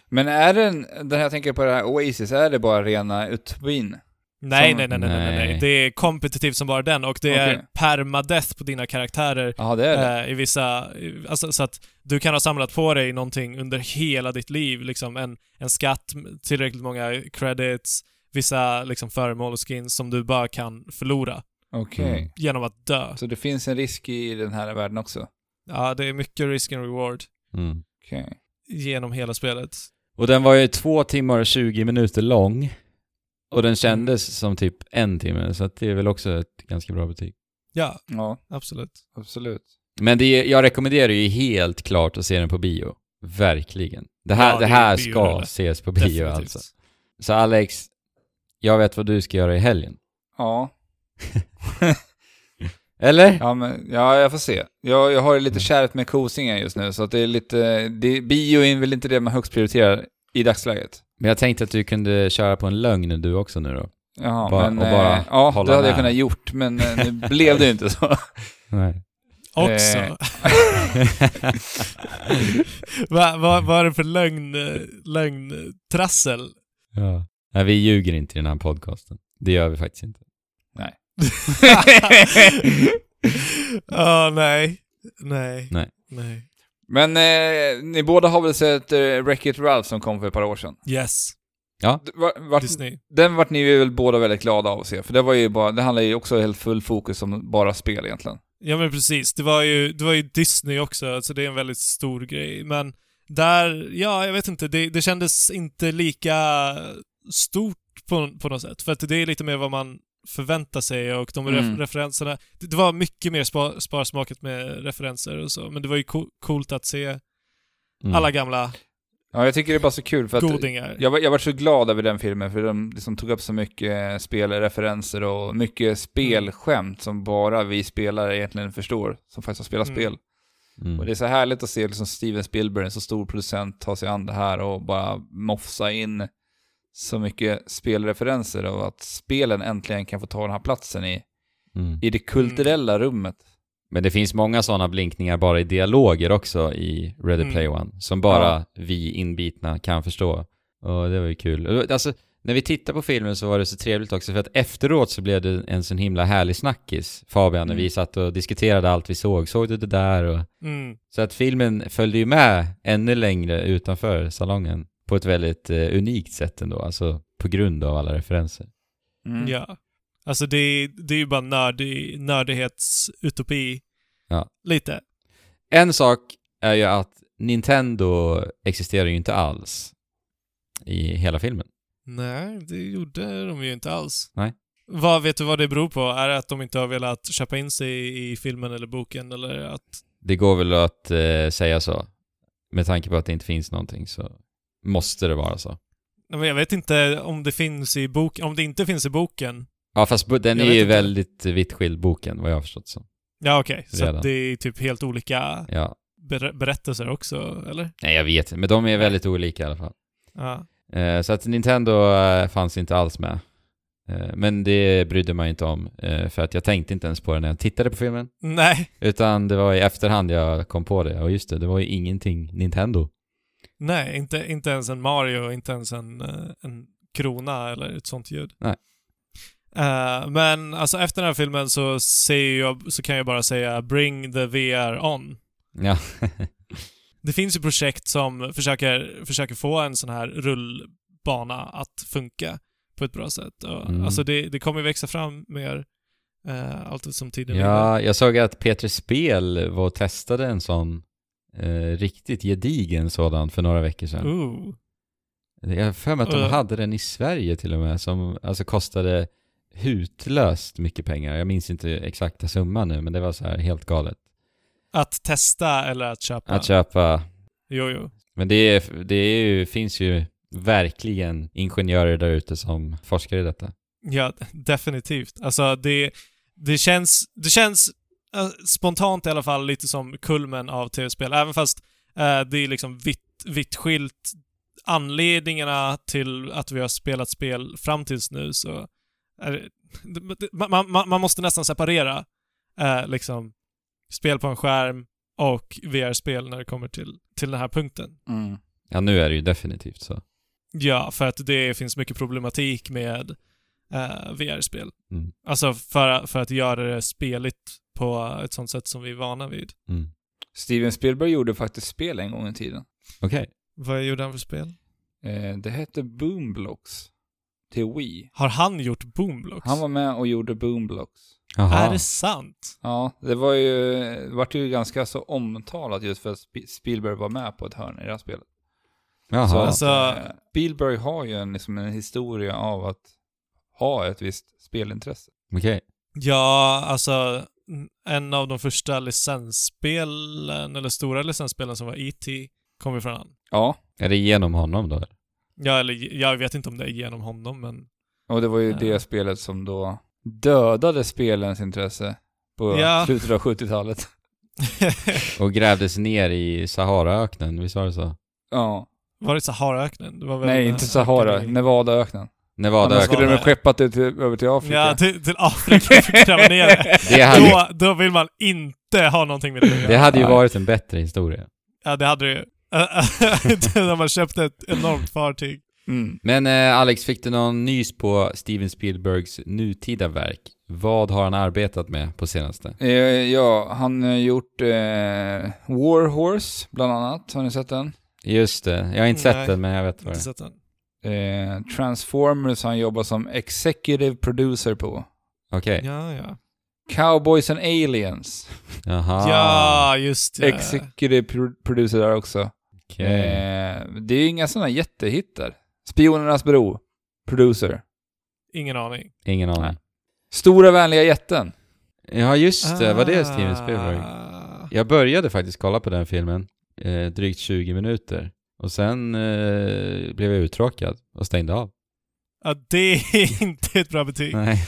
Men är den, den här jag tänker på det här Oasis, är det bara rena utopin?
Nej,
Som-
nej, nej, nej, nej, nej,
Nej.
Det är kompetitivt som bara den och det är
Eh. Okej.
permadeath på dina karaktärer
Ja, det är det.
eh, i vissa... i- Alltså, så att du kan ha samlat på dig någonting under hela ditt liv. Liksom en, en skatt, m- tillräckligt många credits, vissa liksom, föremål och skins som du bara kan förlora
Okej.
Mm.
genom att dö.
Så det finns en risk i den här världen också?
Ja, det är mycket risk and reward
Mm.
Okej.
genom hela spelet.
Och den var ju två timmar och 20 minuter lång. Och
Mm.
den kändes som typ en timme, så att det är väl också ett ganska bra betyg.
Ja,
Ja,
absolut.
absolut.
Men det, är- jag rekommenderar ju helt klart att se den på bio. Verkligen. Det här,
Ja,
det
det är
här
bio,
ska
eller?
ses på bio
Definitivt.
alltså. Så Alex, jag vet vad du ska göra i helgen.
Ja,
Eller?
ja, men, ja jag får se. Jag, jag har det lite kärvt med kosingen just nu, så att det är lite... Det, bio är väl inte det man högst prioriterar i dagsläget.
Men jag tänkte att du kunde köra på en lögn du också nu då.
Jaha,
Bara-
men...
och bara
eh, ja,
hålla
det hade jag
med.
kunnat gjort, men eh, nu blev det ju inte så.
Nej.
Också.
Eh.
Vad va, vad är det för lögn, eh, lögntrassel?
Ja. Nej, vi ljuger inte i den här podcasten. Det gör vi faktiskt inte.
Ja, nej. Nej.
Nej.
Nej.
men eh, ni båda har väl sett eh, Wreck-It Ralph som kom för ett par år sedan?
Yes.
D- va- vart-
Disney.
den vart ni väl båda väldigt glada av att se, för det var ju bara... Det handlar ju också helt full fokus om bara spel egentligen.
Ja men precis. Det var ju, det var ju Disney också, så det är en väldigt stor grej. Men där, ja jag vet inte, det, det kändes inte lika stort på, på något sätt. För att det är lite mer vad man förväntar sig och de
Mm.
ref- referenserna. Det, det var mycket mer spa, sparsmakat med referenser och så, men det var ju co- coolt att se
Mm.
alla gamla
Ja, jag tycker det är bara så kul för att...
godingar.
Jag, var- jag var så glad över den filmen för de liksom tog upp så mycket eh, spelreferenser och mycket spelskämt som bara vi spelare egentligen förstår, som faktiskt har spelat
Mm.
spel.
Mm.
Och det är så härligt att se liksom Steven Spielberg, en så stor producent, ta sig an det här och bara mofsa in så mycket spelreferenser och att spelen äntligen kan få ta den här platsen i,
Mm.
i det kulturella rummet.
Men det finns många sådana blinkningar bara i dialoger också i Ready
Mm.
Play One, som bara vi inbitna kan förstå. Och det var ju kul. Och Alltså, när vi tittade på filmen så var det så trevligt också, för att efteråt så blev det en sån himla härlig snackis, Fabian, när
Mm.
vi satt och diskuterade allt vi såg. Såg du det där? Och...
Mm.
Så att filmen följde ju med ännu längre utanför salongen på ett väldigt eh, unikt sätt ändå, alltså på grund av alla referenser.
Mm.
Ja. Alltså det, är- det är ju bara nördig, nördighetsutopi.
Ja.
Lite.
En sak är ju att Nintendo existerar ju inte alls i hela filmen.
Nej, det gjorde de ju inte alls.
Nej.
Vad vet du vad det beror på? Är det att de inte har velat köpa in sig i filmen eller boken eller att...
Det går väl att eh, säga så. Med tanke på att det inte finns någonting så måste det vara så.
Nej, men Jag vet inte om det finns i boken, om det inte finns i boken.
Ja, fast bo- den
Jag
är
vet
ju
inte.
väldigt vitt skild, boken, vad jag har förstått som.
Ja, okej. Så
Redan.
att det är typ helt olika
Ja.
ber- berättelser också, eller?
Nej, jag vet inte, men de är väldigt olika i alla fall.
Ja.
Eh, så att Nintendo eh, fanns inte alls med. Eh, men det brydde man ju inte om, eh, för att jag tänkte inte ens på det när jag tittade på filmen.
Nej,
Utan det var i efterhand jag kom på det, och just det, det var ju ingenting Nintendo.
nej, inte, inte ens en Mario, inte ens en, eh, en krona eller ett sånt ljud.
Nej.
Eh, men alltså efter den här filmen så, ser jag, så kan jag bara säga “Bring the VR on”.
Ja.
Det finns ju projekt som försöker, försöker få en sån här rullbana att funka på ett bra sätt. Och,
Mm.
Alltså det, det kommer ju växa fram mer eh, allt som tiden lider.
Ja, jag såg att Peter Spel var och testade en sån eh, riktigt gedigen sådan för några veckor sedan.
Ooh.
Jag har för mig att de
Uh.
hade den i Sverige till och med, som alltså kostade hutlöst mycket pengar. Jag minns inte exakta summan nu, men det var så här helt galet.
Att testa eller att köpa.
Att köpa,
jo, jo.
men det, är, det är ju, finns ju verkligen ingenjörer där ute som forskar i detta.
Ja, definitivt. Alltså det, det känns, det känns eh, spontant i alla fall lite som kulmen av tv-spel. Även fast eh, det är liksom vitt, vitt skilt anledningarna till att vi har spelat spel fram tills nu så är det, det- det- man, man, man måste nästan separera eh, liksom spel på en skärm och VR-spel när det kommer till, till den här punkten.
Mm.
Ja, nu är det ju definitivt så.
Ja, för att det finns mycket problematik med eh, VR-spel.
Mm.
Alltså för, för att göra det speligt på ett sånt sätt som vi är vana vid.
Mm.
Steven Spielberg gjorde faktiskt spel en gång i tiden.
Okej.
Vad gjorde han för spel?
Eh, det hette Boomblocks till Wii.
Har han gjort Boomblocks?
Han var med och gjorde Boomblocks.
Är
Jaha.
det sant?
Ja, det var ju, det vart ju ganska så omtalat just för att Sp- Spielberg var med på ett hörn i det här spelet. Så
Jaha.
att,
Alltså-
eh, Spielberg har ju en, liksom en historia av att ha ett visst spelintresse.
Okej.
Ja, alltså n- en av de första licensspelen, eller stora licensspelen som var E.T. kom ju från han.
Ja,
Är det genom honom då? eller?
Ja, eller jag vet inte om det är genom honom, men
och det var ju
Ja.
det spelet som då dödade spelens intresse på
Ja.
slutet av 70-talet.
Och grävdes ner i Saharaöknen, visst var det så?
Ja.
var det Saharaöknen? Det var väl
Nej,
en-
inte Sahara, Nevadaöknen. Annars
Nevadaöknen.
skulle de ha
Nevada.
skeppat ut till- över till Afrika.
Ja, till, till Afrika fick gräva ner det.
Det hade,
då, då vill man inte ha någonting med det att
det
göra.
hade ju varit en bättre historia.
Ja, det hade du ju. När man köpte ett enormt fartyg.
Mm.
Men eh, Alex, fick du någon nys på Steven Spielbergs nutida verk? Vad har han arbetat med på senaste?
Eh, ja, han har gjort eh, War Horse, bland annat. Har ni sett den?
Just det, jag har inte
Nej.
sett den men jag vet vad
Inte
det är.
sett den.
Eh, Transformers han jobbar som executive producer på.
Okej,
Ja, ja.
Cowboys and Aliens.
jaha.
Ja, just det.
Executive pro- producer där också.
Okej.
Eh, det är ju inga sådana jättehittar. Spionernas bro. Producer.
Ingen aning.
Ingen aning.
Stora vänliga jätten.
Ja, just det, var det Steven
Ah.
Spielberg?
Spielberg?
Jag började faktiskt kolla på den filmen, eh, drygt 20 minuter. Och sen eh, blev jag uttråkad och stängde av.
Ja, det är inte ett bra betyg.
Nej.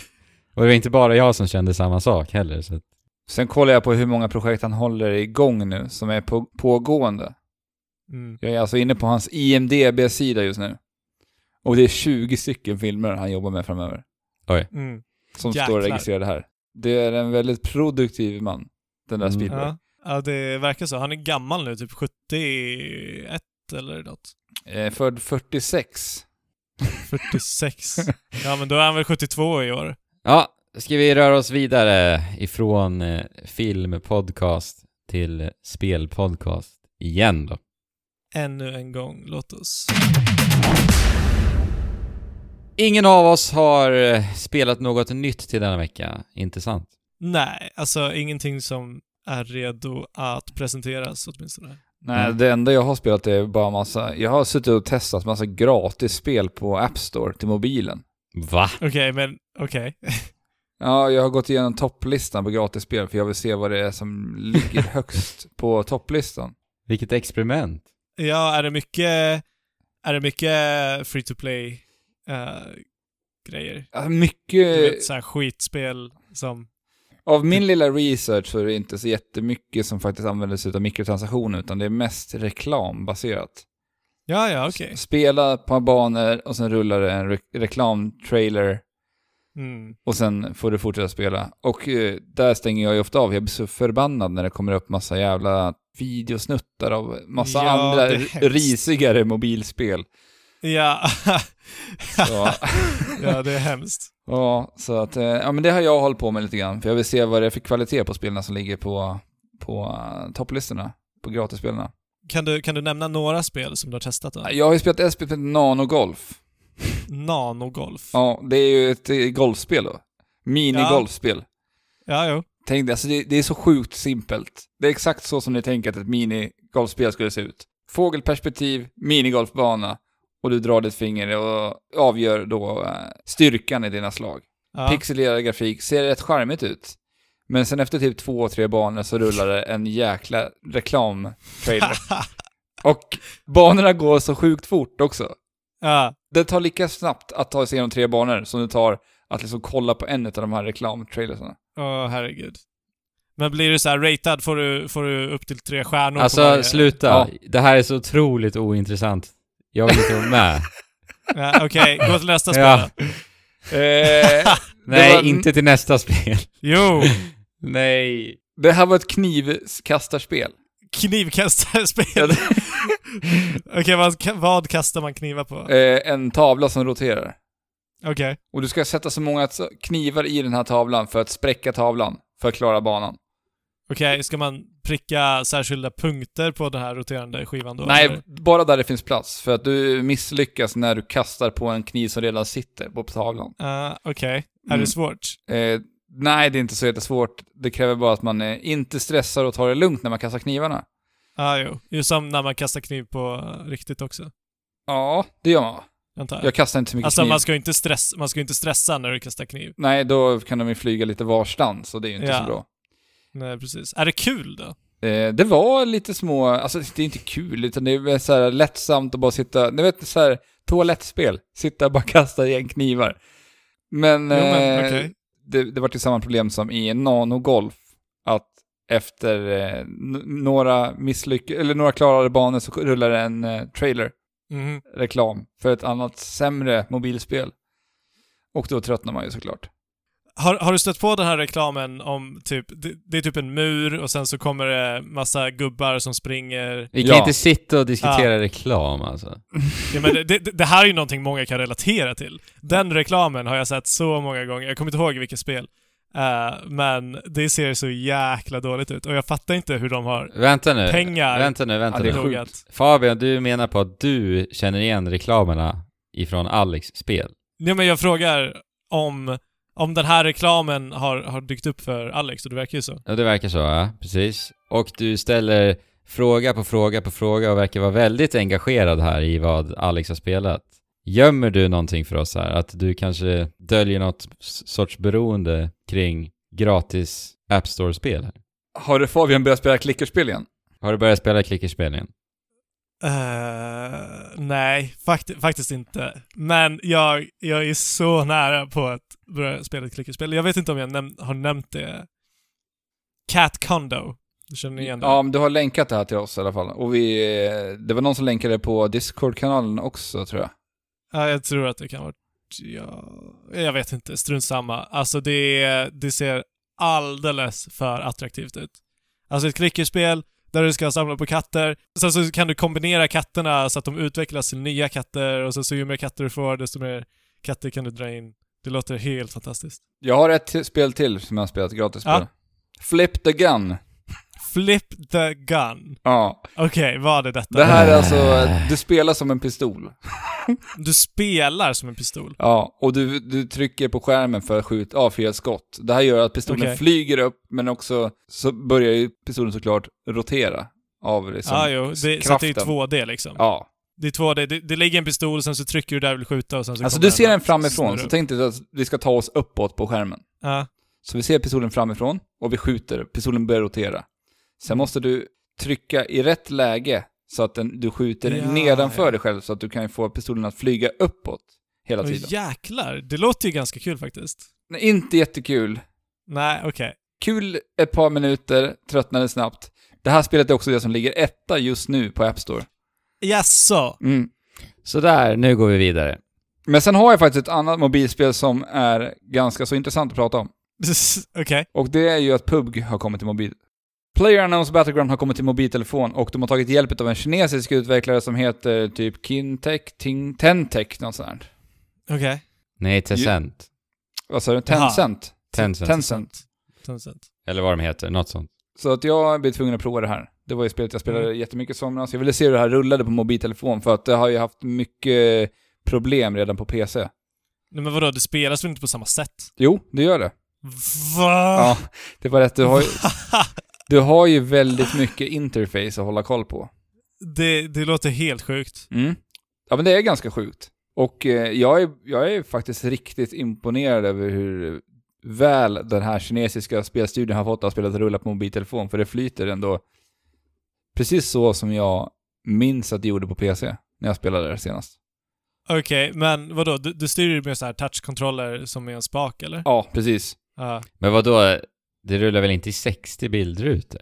Och det var inte bara jag som kände samma sak heller. Så att
Sen kollar jag på hur många projekt han håller igång nu, som är på, pågående.
Mm.
Jag är alltså inne på hans IMDB-sida just nu. Och det är 20 stycken filmer han jobbar med framöver,
Mm.
som
Jäklar.
står registrerade här. Det är en väldigt produktiv man, den där
Mm.
Spielberg.
Ja. ja, det verkar så. Han är gammal nu, typ 71 eller något.
Eh, född 46.
46. ja, men då är han väl 72 i år.
Ja, ska vi röra oss vidare ifrån eh, filmpodcast till spelpodcast igen då?
Ännu en gång, låt oss.
Ingen av oss har eh, spelat något nytt till denna vecka, inte sant?
Nej, alltså ingenting som är redo att presenteras åtminstone.
Nej,
Mm.
det enda jag har spelat är bara massa... Jag har suttit och testat massa gratisspel på App Store till mobilen.
Va?
Okej, men okej.
Ja, jag har gått igenom topplistan på gratisspel för jag vill se vad det är som ligger högst på topplistan.
Vilket experiment.
Ja, är det mycket, är det mycket free to play eh, grejer?
Alltså,
Du
mycket...
vet, så här skitspel som...
Av min lilla research så är det inte så jättemycket som faktiskt använder sig av mikrotransaktioner utan det är mest reklambaserat.
Ja, ja, okej.
Spela på banor och sen rullar det en re reklamtrailer
Mm.
och sen får du fortsätta spela. Och eh, där stänger jag ju ofta av. Jag blir så förbannad när det kommer upp massa jävla videosnuttar av massa
Ja,
andra
det är
r-
hemskt.
risigare mobilspel.
Ja.
Så,
ja, det är hemskt.
ja, så att, eh, ja men det har jag hållit på med lite grann. För jag vill se vad det är för kvalitet på spelen som ligger på, på eh, topplistorna, på gratisspelarna.
Kan du, kan du nämna några spel som du har testat då?
Jag har ju spelat SP Nanogolf.
Nanogolf. Ja,
Ja, det är ju ett eh, golfspel då. Minigolfspel.
ja jo.
Tänk dig, alltså det, det är så sjukt simpelt. Det är exakt så som ni tänker att ett minigolfspel skulle se ut. Fågelperspektiv, minigolfbana och du drar ditt finger och avgör då eh, styrkan i dina slag.
Ja.
Pixelerad grafik, ser rätt charmigt ut. Men sen efter typ två, tre banor så rullar det en jäkla reklamtrailer. och banorna går så sjukt fort också.
ja.
Det tar lika snabbt att ta sig igenom tre banor som det tar att liksom kolla på en av de här reklamtrailersarna.
Åh, herregud. Men blir du så här ratad får du, får du upp till tre stjärnor på
Alltså,
varje-
sluta.
Ja.
Det här är så otroligt ointressant. Jag vill inte vara med.
Ja, Okej, gå till nästa spel.
Ja.
då.
Eh,
Nej,
var-
inte till nästa spel.
Jo!
Nej.
det här var ett knivkastarspel.
Knivkastarspel. Okej, vad, vad kastar man knivar på?
Eh, en tavla som roterar.
Okej.
Och du ska sätta så många t- knivar i den här tavlan för att spräcka tavlan, för att klara banan.
Okej, ska man pricka särskilda punkter på den här roterande skivan då?
Nej,
eller?
bara där det finns plats, för att du misslyckas när du kastar på en kniv som redan sitter på tavlan.
Ah, Okej. Är
Mm.
det svårt?
Eh, nej, det är inte så jättesvårt. Det kräver bara att man eh, inte stressar och tar det lugnt när man kastar knivarna.
Ja, Ah, jo. Ju som när man kastar kniv på eh, riktigt också,
Ja, det gör man.
antar jag.
Jag kastar inte så mycket
alltså,
kniv.
man ska, ju inte stress, man ska ju inte stressa när du kastar kniv.
Nej, då kan de ju flyga lite varstans och det är ju inte
Ja.
så bra.
Nej, precis. Är det kul då?
Eh, det var lite små, alltså det är inte kul, utan det är väl så här lättsamt att bara sitta, ni vet så här toalettspel, sitta och bara kasta igen knivar. Men,
Jo, men
eh,
okej.
det, det var till samma problem som i nanogolf, att efter eh, n- några misslyck eller några klarade banor så rullar det en eh, trailer,
Mhm.
reklam, för ett annat sämre mobilspel. Och då tröttnar man ju såklart.
Har, har du stött på den här reklamen om typ, det, det är typ en mur och sen så kommer det massa gubbar som springer.
Vi kan
Ja.
inte sitta och diskutera reklam alltså.
Ja, men det, det, det här är ju någonting många kan relatera till. Den reklamen har jag sett så många gånger, jag kommer inte ihåg vilket spel. Eh, men det ser så jäkla dåligt ut och jag fattar inte hur de har
Vänta nu.
Pengar.
Vänta nu, vänta
Ja, Eh, det
nu.
är sjukt.
pluggat.
Fabian, du menar på att du känner igen reklamerna ifrån Alex spel?
Ja, men jag frågar om, om den här reklamen har, har dykt upp för Alex och det verkar ju så.
Ja, det verkar så, ja. Precis. Och du ställer fråga på fråga på fråga och verkar vara väldigt engagerad här i vad Alex har spelat. Gömmer du någonting för oss här? Att du kanske döljer något s- sorts beroende kring gratis App Store-spel? här?
Har du Fabian börjat spela klickerspel igen?
Har du börjat spela klickerspel igen?
Eh, nej, fakt- faktiskt inte. Men jag, jag är så nära på att börja spela ett klickerspel. Jag vet inte om jag näm- har nämnt det Cat Kondo. Du känner ni igen det?
Ja, men du har länkat det här till oss i alla fall. Och vi, eh, det var någon som länkade det på Discord-kanalen också tror jag.
Ja, jag tror att det kan vara... Ja, jag vet inte, strunt samma. Alltså det, det ser alldeles för attraktivt ut. Alltså ett klickerspel där du ska samla på katter. Sen så kan du kombinera katterna så att de utvecklas till nya katter och sen så ju mer katter du får desto mer katter kan du dra in. Det låter helt fantastiskt.
Jag har ett till- spel till som jag har spelat, gratisspel.
Ja.
Flip the Gun.
Flip the gun.
Ja.
Okej, vad är detta?
Det här är alltså, du spelar som en pistol.
Du spelar som en pistol.
Ja, och du, du trycker på skärmen för att skjuta av fel skott. Det här gör att pistolen
Okej.
flyger upp, men också så börjar ju pistolen såklart rotera av liksom
Ja, ah, jo. Det, så att det är 2D liksom.
Ja,
Det är 2D. Det, det ligger en pistol, sen så trycker du där du vill skjuta och sen så
alltså
kommer
du ser
och
den framifrån,
snurrar
så
upp.
tänk dig att vi ska ta oss uppåt på skärmen.
Ja.
Så vi ser pistolen framifrån och vi skjuter, pistolen börjar rotera.
Mm.
Sen måste du trycka i rätt läge så att den, du skjuter
Ja,
nedanför
ja.
dig själv så att du kan få pistolen att flyga uppåt hela
Åh
tiden.
jäklar, det låter ju ganska kul faktiskt.
Nej, Inte jättekul.
Nej, okej.
Kul ett par minuter, tröttnade snabbt. Det här spelet är också det som ligger etta just nu på App Store.
Jaså?
Mm.
Sådär, nu går vi vidare.
Men sen har jag faktiskt ett annat mobilspel som är ganska så intressant att prata om.
okej.
Och det är ju att PUBG har kommit till mobil. PlayerUnknown's Battleground har kommit till mobiltelefon och de har tagit hjälp av en kinesisk utvecklare som heter typ Kintech, Ting, Tentech, något sånt här.
Okej.
Nej, Tencent.
Vad sa du? Tencent?
Tencent.
Tencent.
Tencent.
Eller vad de heter, något sånt.
Så att jag blev tvungen att prova det här. Det var ju spelet jag spelade jättemycket i somras. Jag ville se hur det här rullade på mobiltelefon för att det har ju haft mycket problem redan på PC.
Nej men vadå, det spelas väl inte på samma sätt?
Jo, det gör det.
Va?
Ja, det var rätt. Du har ju, du har ju väldigt mycket interface att hålla koll på.
Det, det låter helt sjukt.
Mm. Ja, men det är ganska sjukt. Och eh, jag är, jag är faktiskt riktigt imponerad över hur väl den här kinesiska spelstudion har fått att spela att rulla på mobiltelefon, för det flyter ändå precis så som jag minns att det gjorde på PC när jag spelade det senast.
Okej, men vadå, du, du styr ju med så här touchkontroller som är en spak eller?
Ja, precis.
Ja.
Men vad då? det rullar väl inte i 60 bildrutor?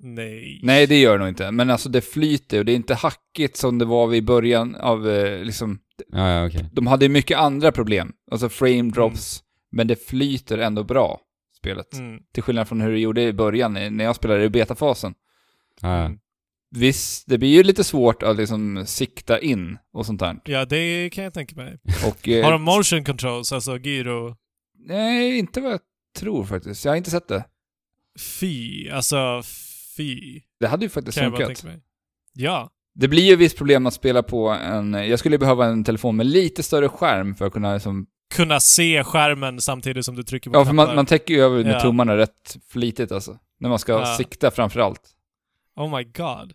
nej.
Nej, det gör det nog inte, men alltså det flyter och det är inte hackigt som det var vid början av eh, liksom...
Ja, ja, okej.
De hade ju mycket andra problem, alltså frame drops, men det flyter ändå bra, spelet.
Mm.
Till skillnad från hur det gjorde i början eh, när jag spelade i betafasen.
Ja, ja.
Mm.
Visst, det blir ju lite svårt att liksom sikta in och sånt där.
Ja, det kan jag tänka mig.
Och, eh,
Har de motion controls, alltså gyro?
Nej, inte vad jag tror faktiskt. Jag har inte sett det.
Fy, alltså fy.
Det hade ju faktiskt
Kan jag bara
funkat.
tänka mig. Ja.
Det blir ju visst problem att spela på en... Jag skulle ju behöva en telefon med lite större skärm för att kunna liksom...
kunna se skärmen samtidigt som du trycker på
Ja, för man,
knappar.
man täcker ju över med
Ja.
tummarna rätt flitigt alltså. När man ska
Ja.
sikta framför allt.
Oh my god.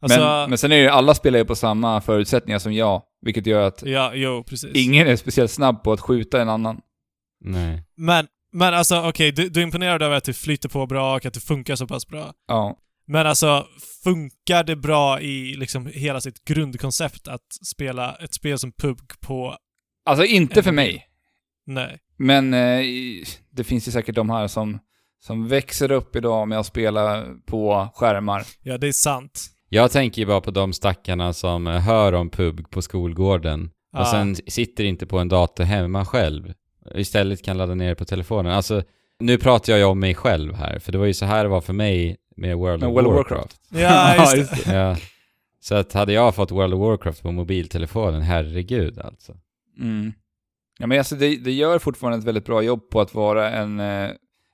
Alltså,
Men, men sen är ju alla spelar ju på samma förutsättningar som jag, vilket gör att
ja, jo, precis.
ingen är speciellt snabb på att skjuta en annan.
Nej.
Men, men alltså, okej, du, du är imponerad över att det flyter på bra och att det funkar så pass bra.
Ja.
Men alltså, funkar det bra i liksom hela sitt grundkoncept att spela ett spel som PUBG på...
Alltså inte för
Eller-
mig.
Nej.
Men eh, i- det finns ju säkert de här som, som växer upp idag med att spela på skärmar.
Ja, det är sant.
Jag tänker ju bara på de stackarna som eh, hör om PUB på skolgården
Ah.
och sen sitter inte på en dator hemma själv. Istället kan ladda ner det på telefonen. Alltså, nu pratar jag ju om mig själv här, för det var ju så här det var för mig med World,
Med
of
World of
Warcraft.
Warcraft.
Ja, just det.
Ja. Så att hade jag fått World of Warcraft på mobiltelefonen, herregud alltså.
Mm. Ja, men alltså det, det gör fortfarande ett väldigt bra jobb på att vara en, eh,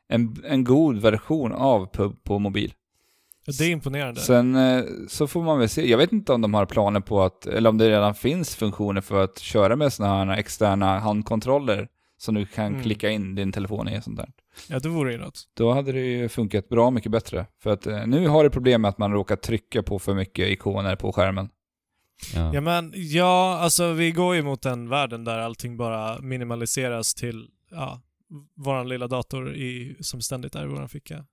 en, en god version av pub på mobil.
Det är imponerande.
Sen eh, så får man väl se. Jag vet inte om de har planer på att, eller om det redan finns funktioner för att köra med sådana här externa handkontroller som du kan
Mm.
klicka in din telefon i och sånt där.
Ja, det vore ju något.
Då hade det ju funkat bra mycket bättre. För att eh, nu har det problem med att man råkar trycka på för mycket ikoner på skärmen.
Ja.
Ja, men ja, alltså vi går ju mot den världen där allting bara minimaliseras till, ja, våran lilla dator i, som ständigt är i våran ficka.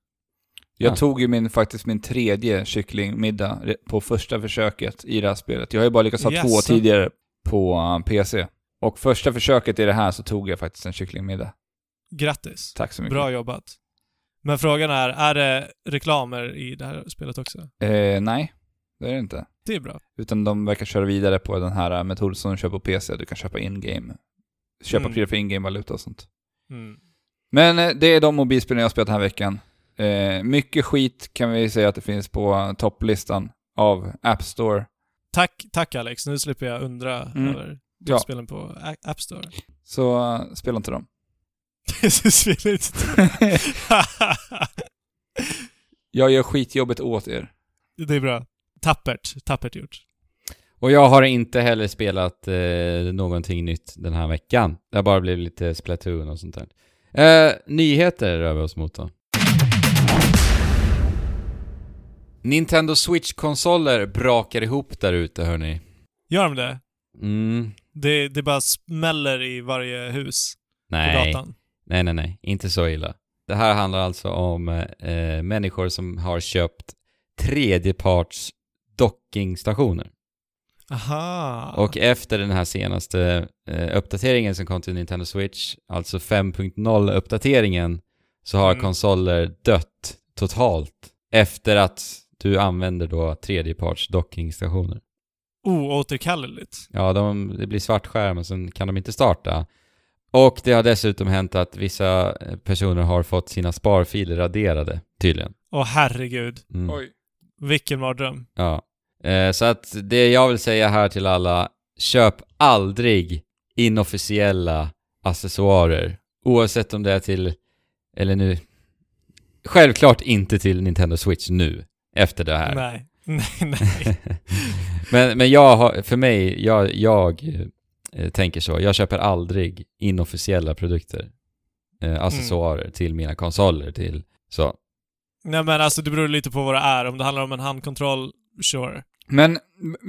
Jag
Ja.
tog ju min, faktiskt min tredje kycklingmiddag re- på första försöket i det här spelet. Jag har ju bara lyckats ha
Yes.
två tidigare på eh, PC. Och första försöket i det här så tog jag faktiskt en kycklingmiddag.
Grattis.
Tack så mycket.
Bra jobbat. Men frågan är, är det reklamer i det här spelet också?
Eh, nej, det är det inte.
Det är bra.
Utan de verkar köra vidare på den här metoden som du kör på PC, du kan köpa in-game. Köpa
Mm.
prylar för in-game-valuta och sånt.
Mm.
Men eh, det är de mobilspelen jag har spelat den här veckan. Eh, mycket skit kan vi säga att det finns på topplistan av App Store.
Tack, tack Alex. Nu slipper jag undra
Mm.
över
Ja.
spelen på A- App Store.
Så eh, spela inte dem.
Spel inte.
jag gör skitjobbet åt er.
det är bra. Tappert. Tappert gjort.
Och jag har inte heller spelat eh, någonting nytt den här veckan. Det har bara blivit lite Splatoon och sånt där. Eh, nyheter rör vi oss mot då. Nintendo Switch-konsoler brakar ihop där ute hörni.
Gör de det?
Mm,
det? Det bara smäller i varje hus på
nej.
gatan.
Nej, nej, nej. Inte så illa. Det här handlar alltså om eh, människor som har köpt tredjeparts dockingstationer.
Aha.
Och efter den här senaste eh, uppdateringen som kom till Nintendo Switch, alltså 5.0-uppdateringen, så har
Mm.
konsoler dött totalt efter att du använder då tredjeparts dockingstationer.
Oåterkalleligt.
Ja, de, det blir svart skärm och sen kan de inte starta. Och det har dessutom hänt att vissa eh, personer har fått sina sparfiler raderade, tydligen.
Åh herregud.
Mm.
Oj.
Vilken mardröm.
Ja. Eh, så att det jag vill säga här till alla, köp aldrig inofficiella accessoarer. Oavsett om det är till, eller nu, självklart inte till Nintendo Switch nu, efter det här.
Nej. Nej, nej.
men, men jag har, för mig, jag, jag eh, tänker så. Jag köper aldrig inofficiella produkter,
Mm.
eh, accessoarer till mina konsoler, till så.
nej men alltså det beror lite på vad det är. Om det handlar om en handkontroll, sure.
Men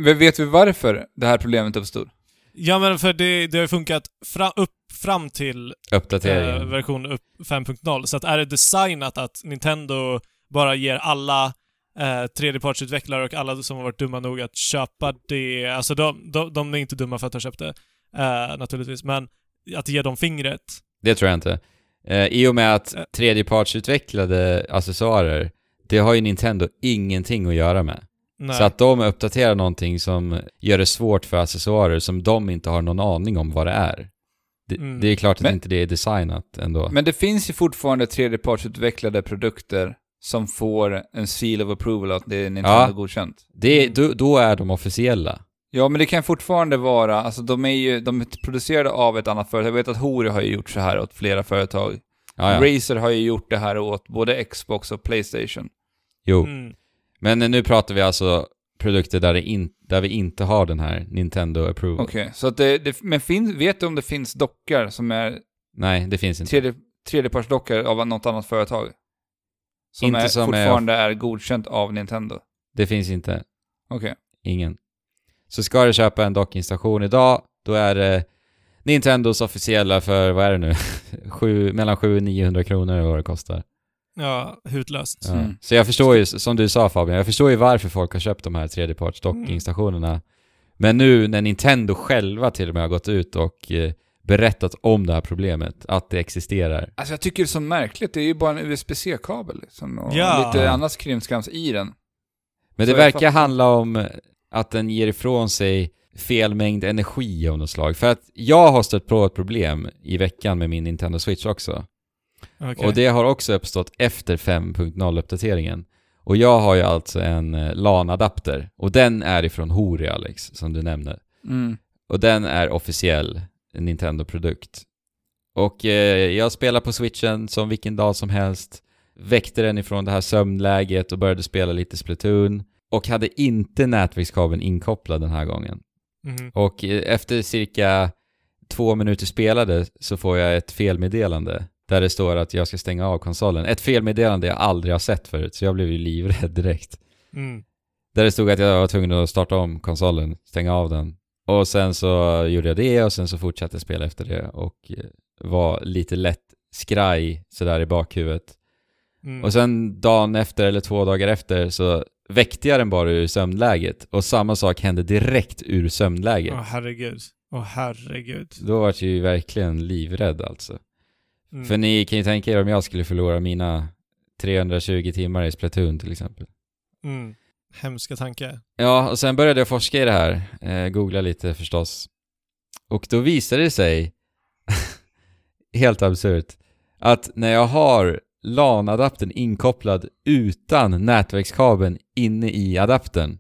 v- vet vi varför det här problemet uppstod?
Ja men för det, det har ju funkat fra, upp, fram till eh,
Uppdateringen.
version upp 5.0. Så att är det designat att Nintendo bara ger alla eh, tredjepartsutvecklare och alla som har varit dumma nog att köpa det, alltså de, de, de är inte dumma för att ha köpt det eh, naturligtvis, men att ge dem fingret.
Det tror jag inte. Eh, I och med att
Eh.
tredjepartsutvecklade accessoarer, det har ju Nintendo ingenting att göra med.
Nej.
Så att de uppdaterar någonting som gör det svårt för accessoarer som de inte har någon aning om vad det är. Det,
Mm.
det är klart att
Men-
inte det är designat ändå.
Men det finns ju fortfarande tredjepartsutvecklade produkter som får en seal of approval att det är Nintendo
Ja.
godkänt.
det, då, då är de officiella.
Ja, men det kan fortfarande vara, alltså de är ju, de är producerade av ett annat företag. Jag vet att Hori har ju gjort så här åt flera företag.
Ja, ja.
Razer har ju gjort det här åt både Xbox och Playstation.
Jo.
Mm.
Men eh, nu pratar vi alltså produkter där, det in, där vi inte har den här Nintendo approval.
Okej, så att det, det men finns, vet du om det finns dockor som är
Nej, det finns inte.
tredje, tredjepartsdockor av något annat företag? Som,
Inte
är,
som är-
fortfarande är... godkänt av Nintendo?
Det finns inte.
Okej.
Ingen. Så ska du köpa en dockingstation idag, då är det Nintendos officiella för, vad är det nu, Sju, mellan 700 och 900 kronor eller vad det kostar.
Ja, hutlöst.
Ja.
Mm.
Så jag förstår ju, som du sa Fabian, jag förstår ju varför folk har köpt de här tredjeparts dockingstationerna. Men nu när Nintendo själva till och med har gått ut och eh, berättat om det här problemet, att det existerar.
Alltså jag tycker det är så märkligt, det är ju bara en USB-C-kabel liksom, och
Ja.
lite annat skrimskrams i den.
Men
Så
det
jag
verkar
fattar.
handla om eh, att den ger ifrån sig fel mängd energi av något slag. För att jag har stött på ett problem i veckan med min Nintendo Switch också.
Okej.
Och det har också uppstått efter 5.0-uppdateringen. Och jag har ju alltså en eh, LAN-adapter. Och den är ifrån Hori, Alex, som du nämnde.
Mm.
Och den är officiell Nintendo-produkt. Och eh, jag spelar på switchen som vilken dag som helst. Väckte den ifrån det här sömnläget och började spela lite Splatoon. Och hade inte nätverkskabeln inkopplad den här gången.
Mhm.
Och eh, efter cirka två minuter spelade så får jag ett felmeddelande där det står att jag ska stänga av konsolen. Ett felmeddelande jag aldrig har sett förut, så jag blev ju livrädd direkt.
Mm.
Där det stod att jag var tvungen att starta om konsolen, stänga av den. Och sen så gjorde jag det och sen så fortsatte jag spela efter det och eh, var lite lätt skraj sådär i bakhuvudet.
Mm.
Och sen dagen efter eller två dagar efter så väckte jag den bara ur sömnläget och samma sak hände direkt ur sömnläget.
Åh herregud. Åh herregud.
Då var jag ju verkligen livrädd alltså.
Mm.
För ni kan ju tänka er om jag skulle förlora mina 320 timmar i Splatoon till exempel.
Mm. Hemska tankar.
Ja, och sen började jag forska i det här. Eh, googla lite förstås. Och då visade det sig, helt absurt, att när jag har LAN-adaptern inkopplad utan nätverkskabeln inne i adaptern,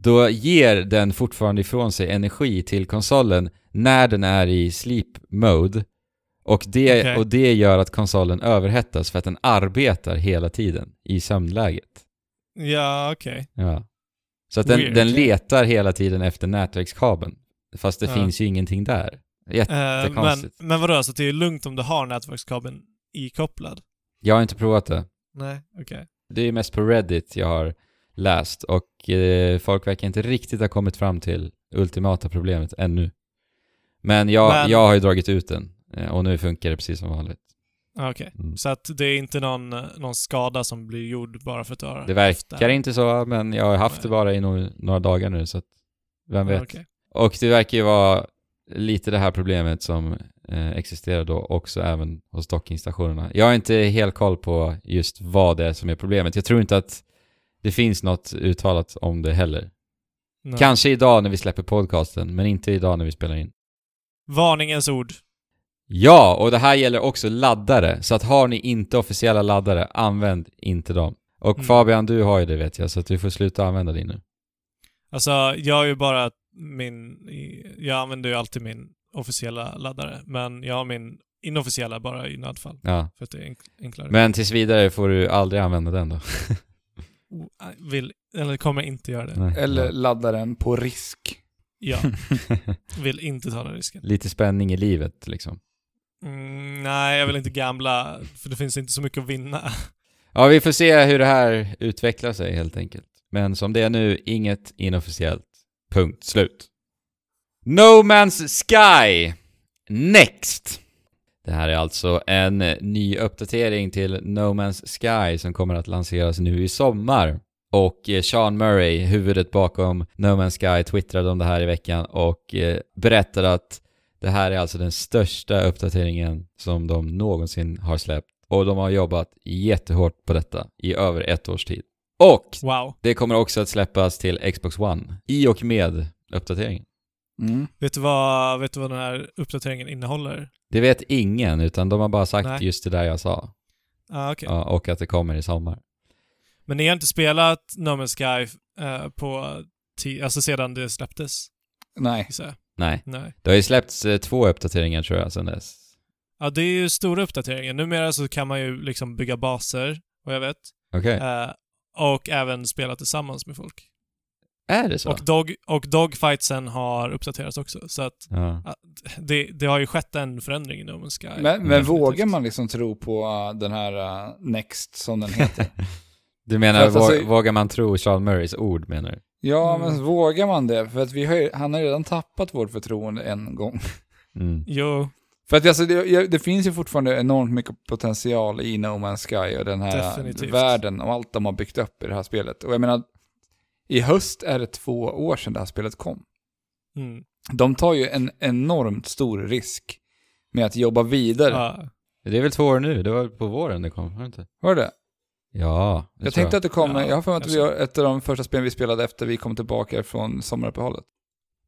då ger den fortfarande ifrån sig energi till konsolen när den är i sleep mode. Och det,
Okej.
och det gör att konsolen överhettas för att den arbetar hela tiden i sömnläget.
Ja, okej.
Ja. Så att den,
Weird.
den letar hela tiden efter nätverkskabeln. Fast det
Ja.
finns ju ingenting där. Jag,
Eh, men,
Jättekonstigt.
men vadå, så det är lugnt om du har nätverkskabeln ikopplad?
jag har inte provat det.
Nej, okej.
Det är mest på Reddit jag har läst och eh, folk verkar inte riktigt ha kommit fram till ultimata problemet ännu. Men jag,
Men-
jag har ju dragit ut den eh, och nu funkar det precis som vanligt.
Ja, Okej.
Mm.
Så att det är inte någon, någon skada som blir gjord bara för att du har
Det
haft
verkar inte så, men jag har haft det
Nej.
bara i no några dagar nu så att vem vet.
Ja, okej.
Och det verkar ju vara lite det här problemet som eh, existerar då också även hos dockingstationerna. Jag har inte helt koll på just vad det är som är problemet. Jag tror inte att det finns något uttalat om det heller.
Nej.
Kanske idag när vi släpper podcasten, men inte idag när vi spelar in.
Varningens ord.
Ja, och det här gäller också laddare. Så att har ni inte officiella laddare, använd inte dem. Och
Mm.
Fabian, du har ju det vet jag, så att du får sluta använda din nu.
Alltså, jag har ju bara min... i- Jag använder ju alltid min officiella laddare, men jag har min inofficiella bara i nödfall,
Ja.
för att det är enk- enklare.
Men tills vidare får du aldrig använda den då.
O- äh, Vill, eller kommer inte göra det.
Nej.
Eller ladda den på risk.
Ja, vill inte ta den risken.
Lite spänning i livet liksom.
Mm, nej, jag vill inte gambla, för det finns inte så mycket att vinna.
Ja, vi får se hur det här utvecklar sig helt enkelt. Men som det är nu, inget inofficiellt. Punkt slut. No Man's Sky Next. Det här är alltså en ny uppdatering till No Man's Sky som kommer att lanseras nu i sommar. Och eh, Sean Murray, huvudet bakom No Man's Sky, twittrade om det här i veckan och eh, berättade att det här är alltså den största uppdateringen som de någonsin har släppt. Och de har jobbat jättehårt på detta i över ett års tid. Och
Wow.
det kommer också att släppas till Xbox One i och med uppdateringen.
Mm.
Vet du vad, vet du vad den här uppdateringen innehåller?
Det vet ingen, utan de har bara sagt
Nej.
just det där jag sa.
Ah, okej.
Ja, och att det kommer i sommar.
Men ni har inte spelat No Man's Sky eh, på ti- alltså sedan det släpptes,
Nej.
gissar jag.
Nej.
Nej.
Det har ju släppts eh, två uppdateringar tror jag sedan dess.
Ja, det är ju stora uppdateringar. Numera så kan man ju liksom bygga baser, vad jag vet.
Okej.
Eh, och även spela tillsammans med folk.
Är det så?
Och, dog, och dogfightsen har uppdaterats också, så att
ja.
det, det har ju skett en förändring i No Man's Sky.
Men, men
Definitivt.
vågar man liksom tro på uh, den här uh, Next som den heter?
Du menar,
För att alltså-
vå- vågar man tro Sean Murrays ord menar du?
Ja,
Mm.
men vågar man det? För att vi har, ju- han har ju redan tappat vårt förtroende en gång.
Mm.
Jo,
För att alltså, det, jag- det finns ju fortfarande enormt mycket potential i No Man's Sky och den här
Definitivt.
världen och allt de har byggt upp i det här spelet. Och jag menar, i höst är det två år sedan det här spelet kom.
mm.
De tar ju en enormt stor risk med att jobba vidare.
ja.
Det är väl två år nu? Det var på våren det kom, var det inte?
Var det?
Ja, det
Jag
tror
tänkte att det kom,
Ja,
jag har för mig att vi
kanske.
har ett av de första spelen vi spelade efter vi kom tillbaka från sommaruppehållet.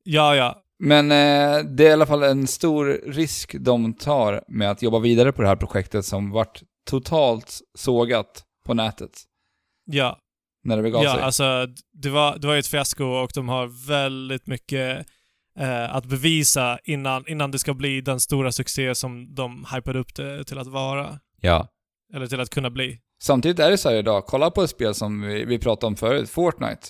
ja, ja.
Men eh, det är i alla fall en stor risk de tar med att jobba vidare på det här projektet som vart totalt sågat på nätet
ja.
när det begav
Ja,
sig.
alltså det var, det var ju ett fiasko och de har väldigt mycket eh, att bevisa innan, innan det ska bli den stora succé som de hypade upp det till att vara.
Ja.
Eller till att kunna bli.
Samtidigt är det så här idag, kolla på ett spel som vi, vi pratade om förut, Fortnite.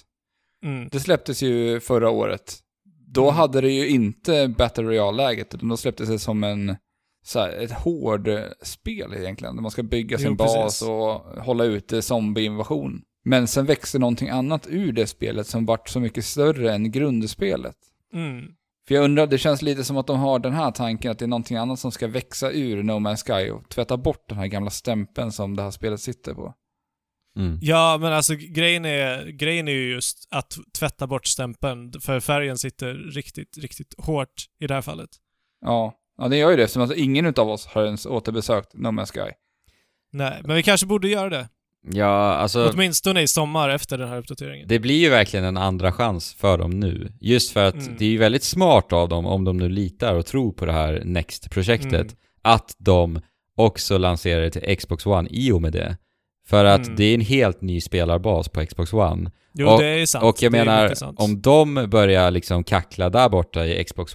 Mm.
Det släpptes ju förra året. Då
Mm.
hade det ju inte Battle Royale-läget, utan då släpptes det som en, så här, ett hård spel egentligen. Där man ska bygga sin
Jo,
bas
precis.
och hålla ute zombieinvasion. Men sen växte någonting annat ur det spelet som vart så mycket större än grundspelet.
Mm.
För jag undrar, det känns lite som att de har den här tanken att det är någonting annat som ska växa ur No Man's Sky och tvätta bort den här gamla stämpeln som det här spelet sitter på.
Mm.
Ja, men alltså grejen är, grejen är ju just att tvätta bort stämpeln, för färgen sitter riktigt, riktigt hårt i det här fallet.
Ja, ja det gör ju det, som att ingen av oss har ens återbesökt No Man's Sky.
Nej, men vi kanske borde göra det.
Ja, alltså...
Åtminstone i sommar efter den här uppdateringen.
Det blir ju verkligen en andra chans för dem nu. Just för att
Mm.
det är ju väldigt smart av dem, om de nu litar och tror på det här Next-projektet,
Mm.
att de också lanserar det till Xbox One i och med det. För att
Mm.
det är en helt ny spelarbas på Xbox One.
Jo,
och-
det är sant.
och jag
Det är
menar,
mycket sant.
om de börjar liksom kackla där borta i Xbox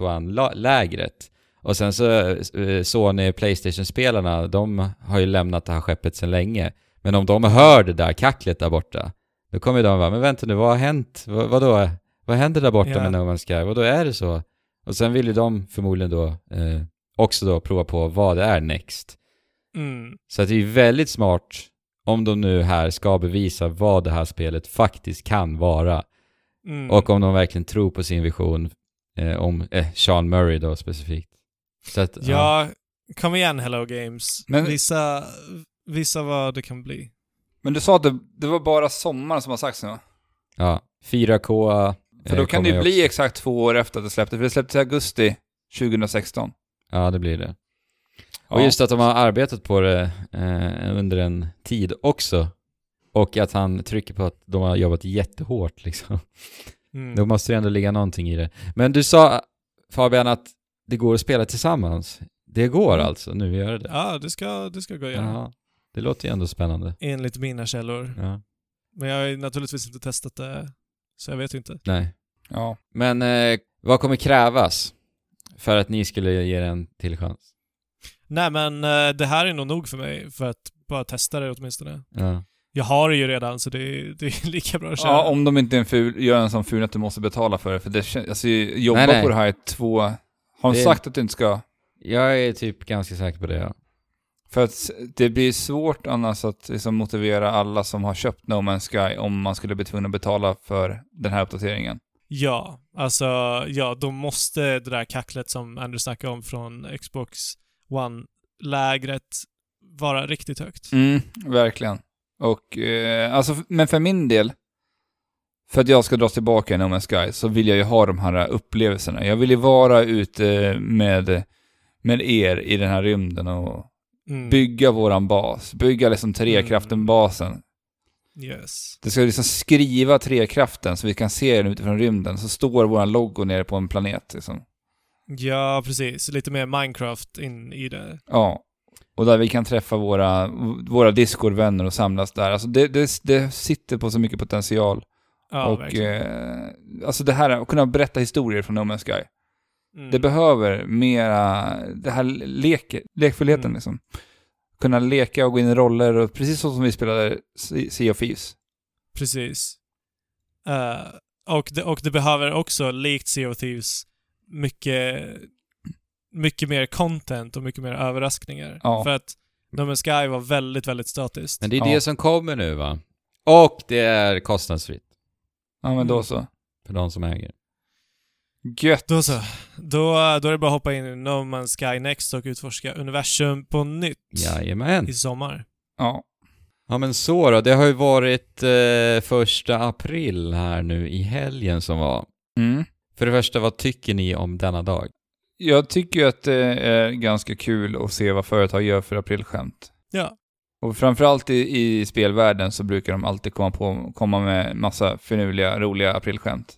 One-lägret, och sen så eh, Sony Playstation-spelarna, de har ju lämnat det här skeppet sedan länge. Men om de hör det där kacklet där borta, då kommer de vara, men vänta nu, vad har hänt? Vad, vadå? Vad händer där borta
Ja.
med No Man's Sky? Vadå, är det så? Och sen vill ju de förmodligen då eh, också då prova på vad det är next.
Mm.
Så att det är ju väldigt smart om de nu här ska bevisa vad det här spelet faktiskt kan vara.
Mm.
Och om de verkligen tror på sin vision eh, om eh, Sean Murray då specifikt. Så att, ja.
Ja, kom igen Hello Games.
Men-
Visa, visa vad det kan bli.
Men du sa att det, det var bara sommaren som har sagts nu va?
ja. 4K... eh,
För då kan
kommer
det ju
ju
bli
också.
exakt två år efter att det släpptes, för det släpptes i augusti 2016.
Ja, det blir det. Och
Ja.
just att de har arbetat på det eh, under en tid också. Och att han trycker på att de har jobbat jättehårt liksom.
Mm.
Då måste det ändå ligga någonting i det. Men du sa Fabian att det går att spela tillsammans. Det går
Mm.
alltså nu gör det.
Ja, det ska, det ska gå att göra.
Ja. Det låter ju ändå spännande.
Enligt mina källor.
Ja.
Men jag har ju naturligtvis inte testat det, så jag vet ju inte.
Nej.
Ja.
Men eh, vad kommer krävas för att ni skulle ge det en till chans?
Nej, men eh, det här är nog nog för mig för att bara testa det åtminstone.
Ja.
Jag har det ju redan, så det är, det är lika bra att köra.
ja, om de inte är en ful, gör en sån ful att du måste betala för det, för det kän- alltså, jobba
Nej, nej.
på det här i två... Har de
Det-
sagt att du inte ska?
Jag är typ ganska säker på det ja.
För att s- det blir svårt annars att liksom motivera alla som har köpt No Man's Sky om man skulle bli tvungen att betala för den här uppdateringen.
Ja, alltså ja, de måste det där kacklet som Andrew snackade om från Xbox One-lägret vara riktigt högt.
Mm, verkligen. Och, eh, alltså, f- men för min del, för att jag ska dra tillbaka i No Man's Sky, så vill jag ju ha de här upplevelserna. Jag vill ju vara ute med, med er i den här rymden och
Mm.
bygga våran bas. Bygga liksom Trekraften-basen.
Yes.
Det ska liksom skriva Trekraften så vi kan se den utifrån rymden. Så står våran logo nere på en planet liksom.
Ja, precis. Lite mer Minecraft in i det.
Ja. Och där vi kan träffa våra, våra Discord-vänner och samlas där. Alltså det, det, det sitter på så mycket potential.
Ja,
och
verkligen.
eh, alltså det här, att kunna berätta historier från No Man's Sky.
Mm.
eh, Det behöver mera, det här lek, lekfullheten
Mm.
liksom. Kunna leka och gå in i roller och precis så som vi spelade Se- Sea of Thieves.
Precis. Eh, och, det, och det behöver också, likt Sea of Thieves, mycket, mycket mer content och mycket mer överraskningar.
Ja.
För att No Man's Sky var väldigt, väldigt statiskt.
Men det är
Ja.
det som kommer nu va? Och det är kostnadsfritt
Ja men då
Mm.
så.
för de som äger.
Gött.
Då så. Då, då är det bara att hoppa in i No Man's Sky Next och utforska universum på nytt
Jajamän.
i sommar.
Ja.
Ja men så då, det har ju varit eh, första april här nu i helgen som var.
Mm.
För det första, vad tycker ni om denna dag?
Jag tycker ju att det är ganska kul att se vad företag gör för aprilskämt.
Ja.
Och framförallt i, i spelvärlden så brukar de alltid komma, på, komma med massa finurliga, roliga aprilskämt.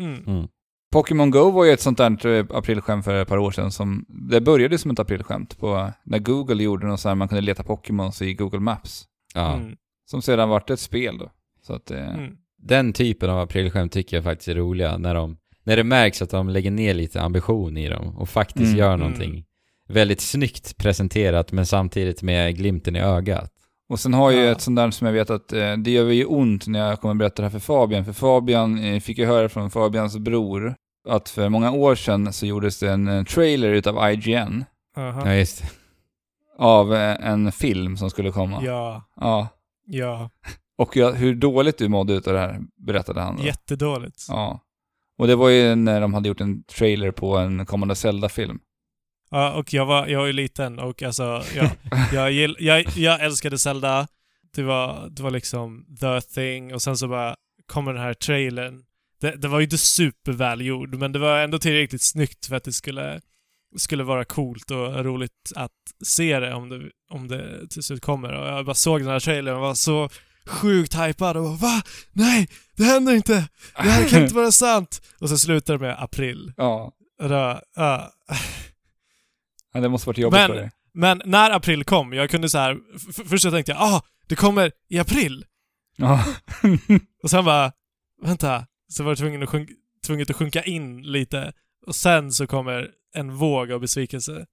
Mm.
Pokémon Go var ju ett sånt där eh, aprilskämt för ett par år sedan som, det började som ett aprilskämt på, när Google gjorde något så här, man kunde leta Pokémons i Google Maps.
Ja.
Mm.
Som sedan vart ett spel då. Så att, eh,
Mm.
Den typen av aprilskämt tycker jag faktiskt är roliga, när, de, när det märks att de lägger ner lite ambition i dem och faktiskt
Mm.
gör
Mm.
någonting väldigt snyggt presenterat men samtidigt med glimten i ögat.
Och sen har jag ju
Ja.
ett sånt där som jag vet att, eh, det gör ju ont när jag kommer berätta det här för Fabian, för Fabian eh, fick ju höra från Fabians bror att för många år sedan så gjordes det en eh, trailer utav IGN
Aha.
Ja, just det.
av eh, en film som skulle komma.
Ja.
Ja.
Ja.
Och jag, hur dåligt du mådde utav det här, berättade han. då.
Jättedåligt.
Ja. Och det var ju när de hade gjort en trailer på en kommande Zelda-film.
Ja, och jag var, jag var ju liten och alltså, jag, jag, gill, jag, jag älskade Zelda. Det var, det var liksom the thing och sen så bara kommer den här trailern. Det, det var ju inte supervälgjord, men det var ändå tillräckligt snyggt för att det skulle skulle vara coolt och roligt att se det om det, om det till slut kommer. Och jag bara såg den här trailern och var så sjukt hypad och bara, va? Nej! Det händer inte! Det här kan inte vara sant! Och så slutar det med april.
Ja.
Och då, ja.
Ja, Det måste varit jobbigt
Men-
för dig.
Men när april kom, jag kunde så här, f- f- först så tänkte jag ah, det kommer i april.
Ja.
Och sen bara, vänta, så var jag tvungen att sjunka, tvunget att sjunka in lite. Och sen så kommer en våg av besvikelse.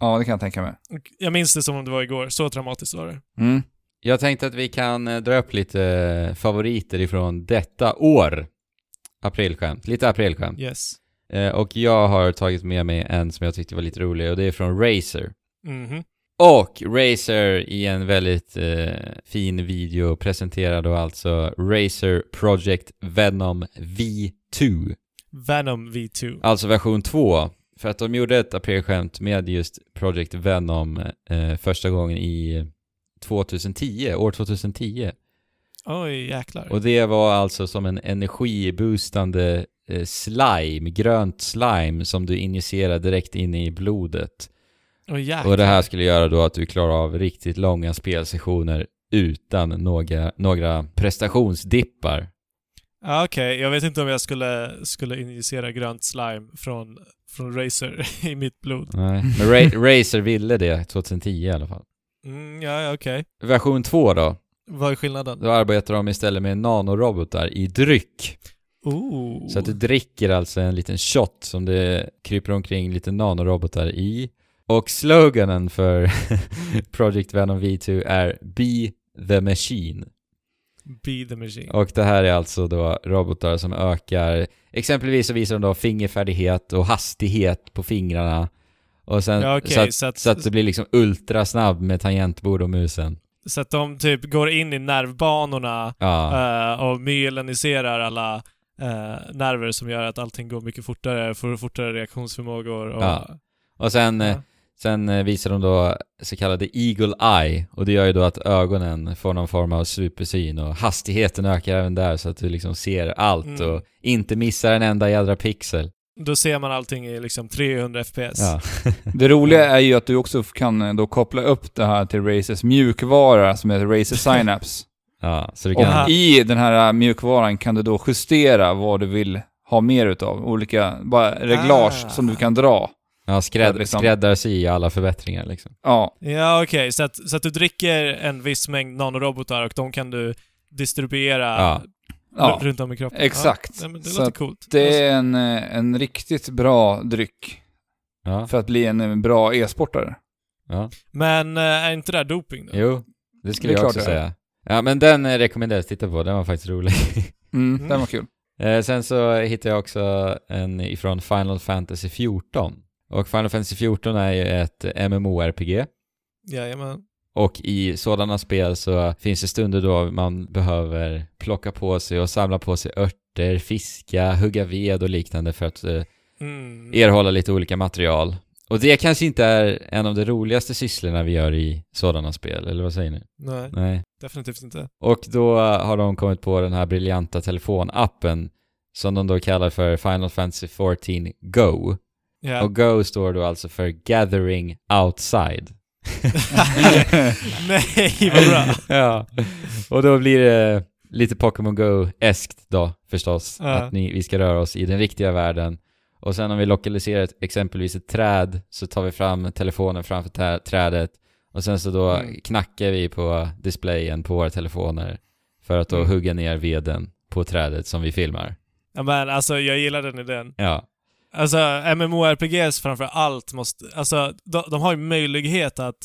ja, det kan jag tänka mig.
Och Jag minns det som om det var igår, så traumatiskt var det.
Mm.
Jag tänkte att vi kan eh, dra upp lite eh, favoriter ifrån detta år. Aprilskämt. Lite aprilskämt.
Yes.
Eh, och jag har tagit med mig en som jag tyckte var lite rolig och det är från Razer.
Mhm.
Och Razer i en väldigt eh, fin video presenterar då alltså Razer Project Venom V2.
Venom V2.
Alltså version 2. För att de gjorde ett aprilskämt med just Project Venom eh, första gången i 2010, år 2010.
Oj, jäklar.
Och det var alltså som en energiboostande eh, slime, grönt slime som du injicerar direkt in i blodet.
Oj, jäklar.
Och det här skulle göra då att du klarar av riktigt långa spelsessioner utan några, några prestationsdippar.
Ja, Okej, jag vet inte om jag skulle, skulle injicera grönt slime från, från Razer i mitt blod.
Nej. Men Ra- Razer ville det 2010 i alla fall.
Mm, ja, ja, okej.
Version 2 då,
Vad är skillnaden?
då arbetar de istället med nanorobotar i dryck.
Oh.
Så att du dricker alltså en liten shot som det kryper omkring lite nanorobotar i. Och sloganen för Project Venom V2 är Be the Machine.
Be the machine.
Och det här är alltså då robotar som ökar, exempelvis så visar de då fingerfärdighet och hastighet på fingrarna. Och sen,
Ja, okej,
Eh, så, att,
så att-
så att det blir liksom ultrasnabb med tangentbord och musen.
Så att de typ går in i nervbanorna
Ja,
eh, och myeliniserar alla eh, nerver som gör att allting går mycket fortare, får fortare reaktionsförmågor och...
Ja. och sen, eh,
Ja.
sen eh, visar de då så kallade Eagle Eye och det gör ju då att ögonen får någon form av supersyn och hastigheten ökar även där så att du liksom ser allt
Mm.
och inte missar en enda jädra pixel.
Då ser man allting i liksom 300 FPS.
Ja.
Det roliga är ju att du också kan eh, då koppla upp det här till Razers mjukvara som heter Razer Synapse.
ja, så du kan...
Och i den här eh, mjukvaran kan du då justera vad du vill ha mer utav. Olika bara reglage
Ah.
som du kan dra.
Ja,
Att
skrädd,
liksom-
skräddarsy alla förbättringar liksom.
Ja,
Ja, okej. Så, att, så att du dricker en viss mängd nanorobotar och de kan du distribuera
Ja.
r-
ja
runt om i kroppen.
exakt.
Ja. Nej, men det
Så
låter
att
coolt.
det är en, eh, en riktigt bra dryck
Ja,
för att bli en eh, bra e-sportare.
ja.
Men eh, är inte det här doping då?
Jo, det skulle
Det är
jag
klart
också
det är.
säga. Ja, men den eh, rekommenderas att titta på. Den var faktiskt rolig.
Mm,
Mm.
Den var kul.
Eh, Sen så hittade jag också en ifrån Final Fantasy 14. Och Final Fantasy 14 är ju ett MMORPG.
Jajamän.
Och i sådana spel så finns det stunder då man behöver plocka på sig och samla på sig örter, fiska, hugga ved och liknande för att eh,
Mm.
erhålla lite olika material. Och det kanske inte är en av de roligaste sysslorna vi gör i sådana spel, eller vad säger ni?
Nej,
Nej.
definitivt inte.
Och då har de kommit på den här briljanta telefonappen som de då kallar för Final Fantasy 14 Go.
Ja.
Och Go står då alltså för Gathering Outside.
Nej, vad bra.
ja. Och då blir det lite Pokémon Go-eskt då förstås.
Ja.
Att ni, vi ska röra oss i den riktiga världen. Och sen om vi lokaliserar ett, exempelvis ett träd så tar vi fram telefonen framför tä- trädet. Och sen så då
Mm.
knackar vi på displayen på våra telefoner för att då
Mm.
hugga ner veden på trädet som vi filmar.
Ja, men alltså, jag gillar den idén.
Ja,
Alltså, MMORPGs framför allt måste... Alltså, de, de har ju möjlighet att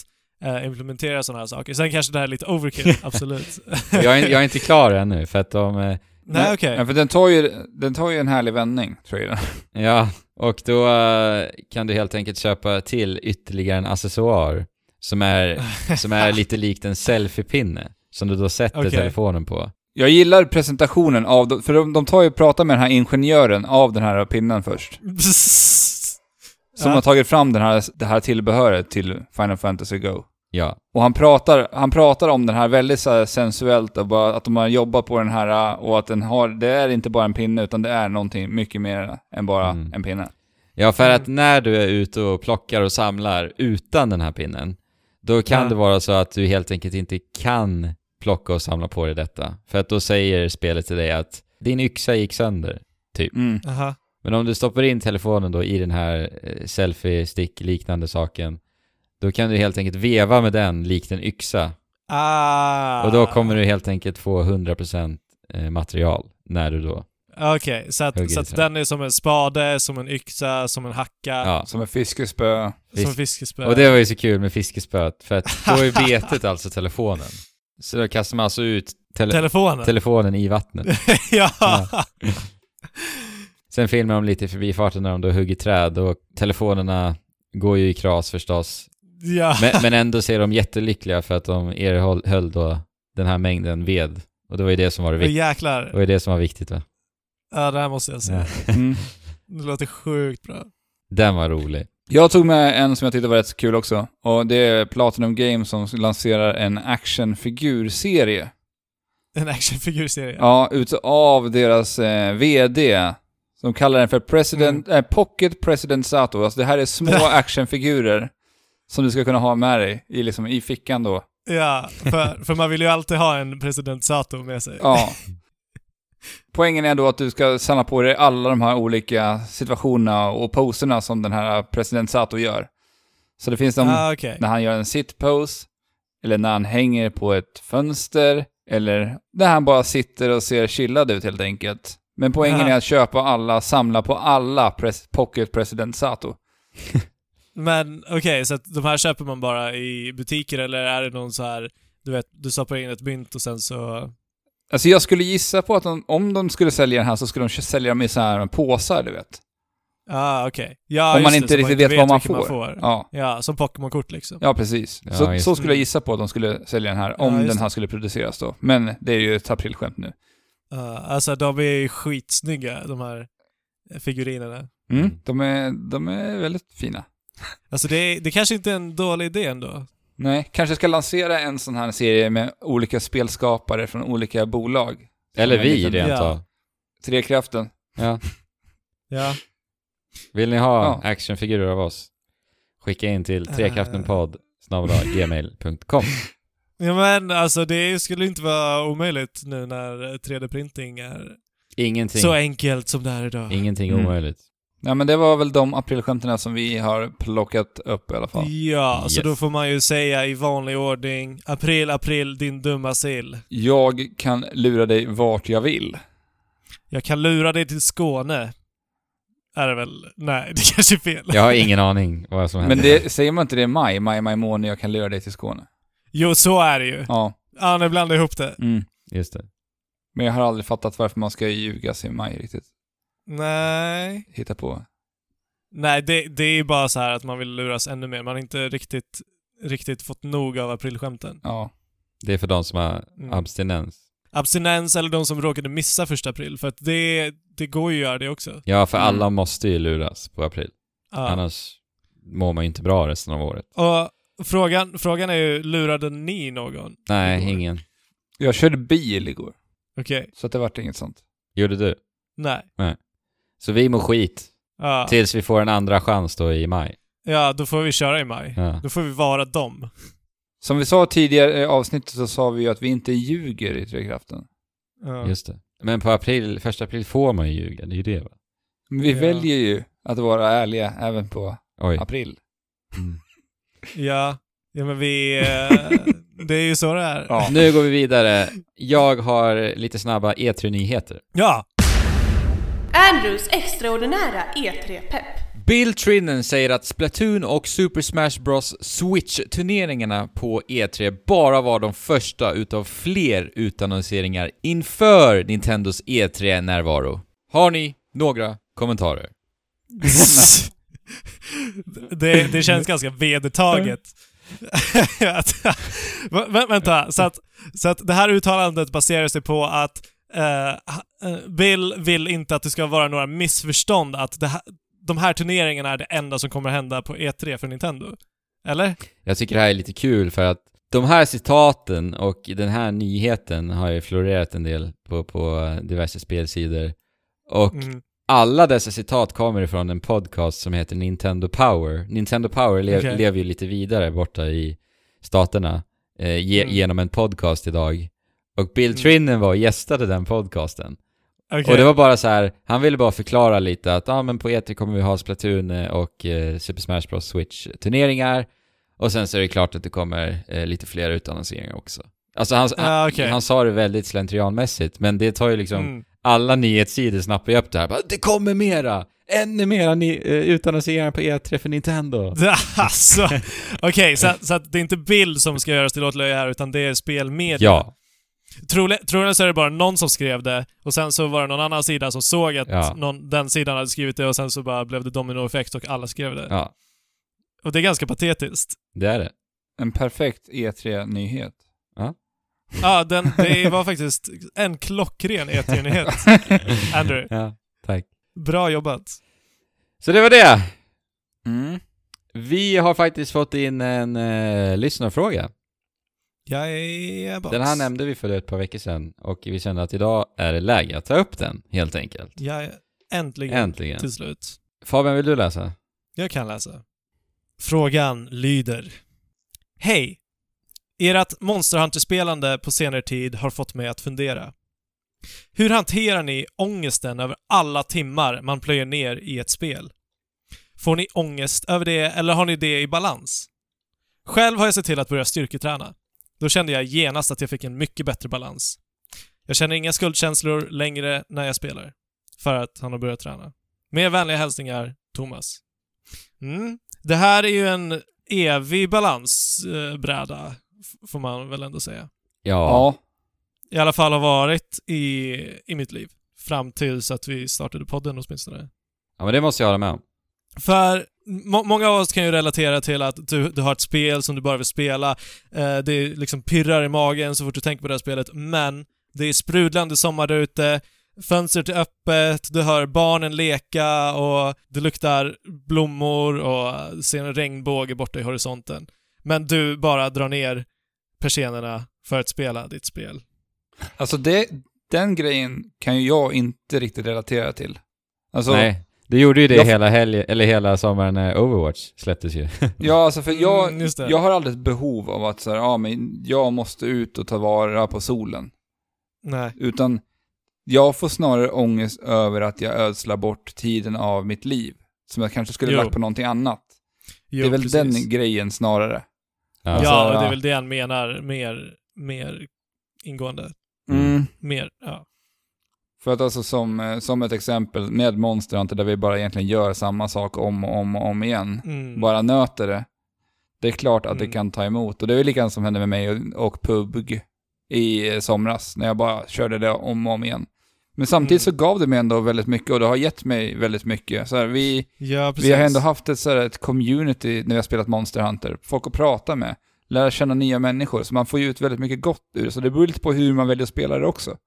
eh, implementera sådana här saker. Sen kanske det här är lite overkill, absolut.
jag är, jag är inte klar ännu för att de... eh,
Nej, okej.
Ja, för den tar, ju, den tar ju en härlig vändning, tror jag.
Ja, och då eh, kan du helt enkelt köpa till ytterligare en accessoar som är, som är lite likt en selfiepinne som du då sätter
Okej.
telefonen på.
Jag gillar presentationen av, för de, de tar ju prata med den här ingenjören av den här pinnen först. Som
Ja.
har tagit fram den här, det här tillbehöret till Final Fantasy Go.
Ja,
Och han pratar, han pratar om den här väldigt så här sensuellt och bara att de har jobbat på den här och att den har, det är inte bara en pinne utan det är någonting mycket mer än bara
Mm.
en pinne.
Ja, för
Mm.
att när du är ute och plockar och samlar utan den här pinnen, då kan
Ja.
det vara så att du helt enkelt inte kan plocka och samla på dig detta. För att då säger spelet till dig att din yxa gick sönder.
Mm.
Aha.
Men om du stoppar in telefonen då i den här eh, selfie-stick-liknande saken, då kan du helt enkelt veva med den likt en yxa.
Ah.
Och då kommer du helt enkelt få 100% eh, material när du då...
Ah, Okej, så, att,
Hugger
så
i
att
trä.
den är som en spade, som en yxa, som en hacka,
Ja.
Som ett fiskespö.
som en
visst.
fiskespö.
Och det var ju så kul med fiskespöet, för att då är betet alltså telefonen. Så då kastar man alltså ut tele-
Telefonen?
telefonen i vattnet.
ja.
Ja. Sen filmar de lite i förbifarten när de då hugger träd och telefonerna går ju i kras förstås.
ja.
Men, men ändå ser de jättelyckliga för att de erhöll höll då den här mängden ved. Och det var ju det som var, det
Men
vik- det
jäklar.
var, ju det som var viktigt va?
Ja, det här måste jag se.
Ja.
Mm.
Det låter sjukt bra.
Den var rolig.
Jag tog med en som jag tyckte var rätt så kul också. Och det är Platinum Games som lanserar en actionfigurserie.
En actionfigurserie.
Ja, utav deras eh, VD. Som kallar den för President, eh, Pocket President Sato. Alltså det här är små actionfigurer som du ska kunna ha med dig i, liksom, i fickan då.
Ja, för, för man vill ju alltid ha en president Sato med sig.
Ja. Poängen är då att du ska samla på dig alla de här olika situationerna och poserna som den här president Sato gör. Så det finns de
ah, okej.
när han gör en sit-pose, eller när han hänger på ett fönster, eller när han bara sitter och ser chillad ut helt enkelt. Men poängen
Aha.
är att köpa alla, samla på alla pres- Pocket President Sato.
Men okej, så att de här köper man bara i butiker eller är det någon så här, du vet, du stoppar in ett mynt och sen så...
Alltså jag skulle gissa på att de, om de skulle sälja den här så skulle de kö- sälja dem i så här påsar, du vet.
Ah, okej. Ja,
om man
just
inte
det, så
riktigt vet, vad man
vilken
får. Ja.
Ja, som Pokémon-kort liksom.
ja, precis.
Ja,
så,
just
så
det.
skulle jag gissa på att de skulle sälja den här, om
Ja, just
den
det.
här skulle produceras då. Men det är ju ett aprilskämt nu.
Ah, alltså de är ju skitsnygga, de här eh, figurinerna.
Mm.
Mm.
De, är, de är väldigt fina.
Alltså det, är, det kanske inte är en dålig idé ändå.
Nej, kanske ska lansera en sån här serie med olika spelskapare från olika bolag.
Eller
Som en
vi
liten-
rent
Ja.
av.
Trekraften.
Ja.
Ja.
Vill ni ha
Ja.
actionfigurer av oss? Skicka in till
Eh.
trekraftenpodd gmail.com.
ja men alltså det skulle inte vara omöjligt nu när 3D-printing är
Ingenting,
så enkelt som det är idag.
ingenting
Mm.
omöjligt.
Ja, men det var väl de aprilskämten som vi har plockat upp i alla fall.
Ja, så
Yes.
då får man ju säga i vanlig ordning April, april, din dumma sill.
Jag kan lura dig vart jag vill.
Jag kan lura dig till Skåne. Är det väl? Nej, det kanske är fel.
Jag har ingen aning vad som händer.
Men det, säger man inte det i maj? Maj, maj måne, jag kan lura dig till Skåne.
Jo, så är det ju.
Ja.
Ja, nu blandar jag ihop det.
Mm.
Just det.
Men jag har aldrig fattat varför man ska ljugas i maj riktigt.
Nej.
Hitta på.
Nej, det, det är ju bara så här att man vill luras ännu mer. Man har inte riktigt, riktigt fått nog av aprilskämten.
Ja.
Det är för de som har
Mm.
abstinens.
Abstinens eller de som råkade missa första april, för att det, det går ju att göra det också.
Ja, för
Mm.
alla måste ju luras på april.
Ja.
Annars mår man ju inte bra resten av året.
Och frågan, frågan är ju, lurade ni någon?
Nej,
Igår.
ingen.
Jag körde bil igår,
Okej.
så att det vart inget sånt.
Gjorde du?
Nej.
Så vi mår skit.
Ja.
Tills vi får en andra chans då i maj.
ja, då får vi köra i maj.
Ja.
Då får vi vara dem.
Som vi sa tidigare i avsnittet så sa vi ju att vi inte ljuger i Trekraften.
Ja.
Just det. Men på april, första april får man ju ljuga, det är ju det va?
Men vi
Ja.
väljer ju att vara ärliga även på
Oj.
april.
Ja. ja, men vi... eh, det är ju så det är.
Ja.
Nu går vi vidare. Jag har lite snabba E3-nyheter.
Ja.
Andrews extraordinära E E3-pepp.
Bill Trinnen säger att Splatoon och Super Smash Bros Switch-turneringarna på E3 bara var de första utav fler utannonseringar inför Nintendos E3-närvaro. Har ni några kommentarer?
det, det känns ganska vedertaget. Att- Vä- vä- vänta, så att, så att det här uttalandet baserar sig på att eh, ha- eh, Bill vill inte att det ska vara några missförstånd att det här, de här turneringarna är det enda som kommer hända på E3 för Nintendo. Eller?
Jag tycker det här är lite kul för att de här citaten och den här nyheten har ju florerat en del på, på diverse spelsidor. Och
Mm.
alla dessa citat kommer ifrån en podcast som heter Nintendo Power. Nintendo Power le-
Okej.
lever ju lite vidare borta i staterna eh, ge-
Mm.
genom en podcast idag. Och Bill Trinnen var och gästade den podcasten.
Okej.
Och det var bara så här, han ville bara förklara lite att ah, men på E3 kommer vi ha Splatoon eh, och eh, Super Smash Bros Switch-turneringar. Och sen så är det klart att det kommer eh, lite fler utannonseringar också. Alltså han,
Ah, okej.
han, han sa det väldigt slentrianmässigt, men det tar ju liksom
Mm.
alla nyhetssidor snappar ju upp det här. Bara, det kommer mera! Ännu mera ni- eh, utannonseringar på E3 för Nintendo.
alltså, okej, så, att- så att det är inte bild som ska göras till åtlöje här, utan det är spelmedia.
Ja,
Troli- Troligen så är det bara någon som skrev det, och sen så var det någon annan sida som såg att
Ja.
någon, den sidan hade skrivit det, och sen så bara blev det dominoeffekt och alla skrev det.
ja,
Och det är ganska patetiskt.
det är det.
En perfekt E E3-nyhet.
Ja, den, det var faktiskt en klockren E3-nyhet, Andrew.
Ja, tack.
Bra jobbat.
Så det var det.
Mm.
Vi har faktiskt fått in en eh, lyssnarfråga.
Jajebox.
Den här nämnde vi för ett par veckor sedan och vi kände att idag är det läge att ta upp den, helt enkelt.
Ja, äntligen,
Äntligen.
till slut.
Fabian, vill du läsa?
Jag kan läsa. Frågan lyder. Hej! Ert Monster Hunter-spelande på senare tid har fått mig att fundera. Hur hanterar ni ångesten över alla timmar man plöjer ner i ett spel? Får ni ångest över det eller har ni det i balans? Själv har jag sett till att börja styrketräna. Då kände jag genast att jag fick en mycket bättre balans. Jag känner inga skuldkänslor längre när jag spelar. För att han har börjat träna. Med vänliga hälsningar, Thomas. Mm. Det här är ju en evig balansbräda, f- får man väl ändå säga.
Ja.
Ja.
I alla fall har varit i, i mitt liv. Fram tills att vi startade podden åtminstone.
Ja, men det måste jag hålla med om.
För må- många av oss kan ju relatera till att du, du har ett spel som du bara vill spela. Eh, det liksom pirrar i magen så fort du tänker på det här spelet, men det är sprudlande sommar där ute, fönstret är öppet, du hör barnen leka och det luktar blommor och ser en regnbåge borta i horisonten. Men du bara drar ner persiennerna för att spela ditt spel.
Alltså det, den grejen kan ju jag inte riktigt relatera till. Alltså,
Nej, du gjorde ju det
Jag-
hela helgen, eller hela sommaren när Overwatch släpptes ju.
Ja, alltså för jag,
Mm, just det.
jag har aldrig ett behov av att så här, ja men jag måste ut och ta vara på solen.
Nej.
Utan jag får snarare ångest över att jag ödslar bort tiden av mitt liv. Som jag kanske skulle
Jo.
lagt på någonting annat.
Jo,
det är väl
precis.
den grejen snarare.
Ja.
Alltså,
Ja, och det är
ja.
väl det han menar mer, mer ingående.
Mm.
Mer, ja.
För att alltså som, eh, som ett exempel med Monster Hunter där vi bara egentligen gör samma sak om och om och om igen.
Mm.
Bara nöter det. Det är klart att
Mm.
det kan ta emot. Och det är väl likadant som hände med mig och, och PUBG i eh, somras. När jag bara körde det om och om igen. Men samtidigt
Mm.
så gav det mig ändå väldigt mycket och det har gett mig väldigt mycket. Så här, vi,
Ja, precis.
vi har ändå haft ett, så här, ett community när vi har spelat Monster Hunter. Folk att prata med. Lära känna nya människor. Så man får ju ut väldigt mycket gott ur det. Så det beror lite på hur man väljer att spela det också.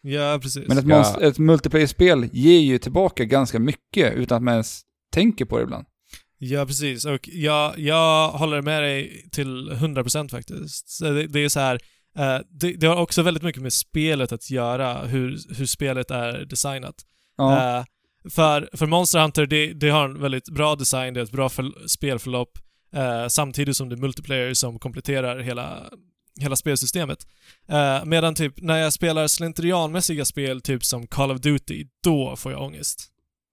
Ja, precis.
Men ett,
Ja.
monst- ett multiplayer-spel ger ju tillbaka ganska mycket utan att man ens tänker på det ibland.
Ja, precis. Och jag, jag håller med dig till 100% faktiskt. Så det, det är så här, eh, det, det har också väldigt mycket med spelet att göra, hur, hur spelet är designat.
Ja.
Eh, för, för Monster Hunter, det, det har en väldigt bra design, det är ett bra för, spelförlopp, eh, samtidigt som det är multiplayer som kompletterar hela, hela spelsystemet. Eh, medan typ, när jag spelar slentrianmässiga spel, typ som Call of Duty, då får jag ångest.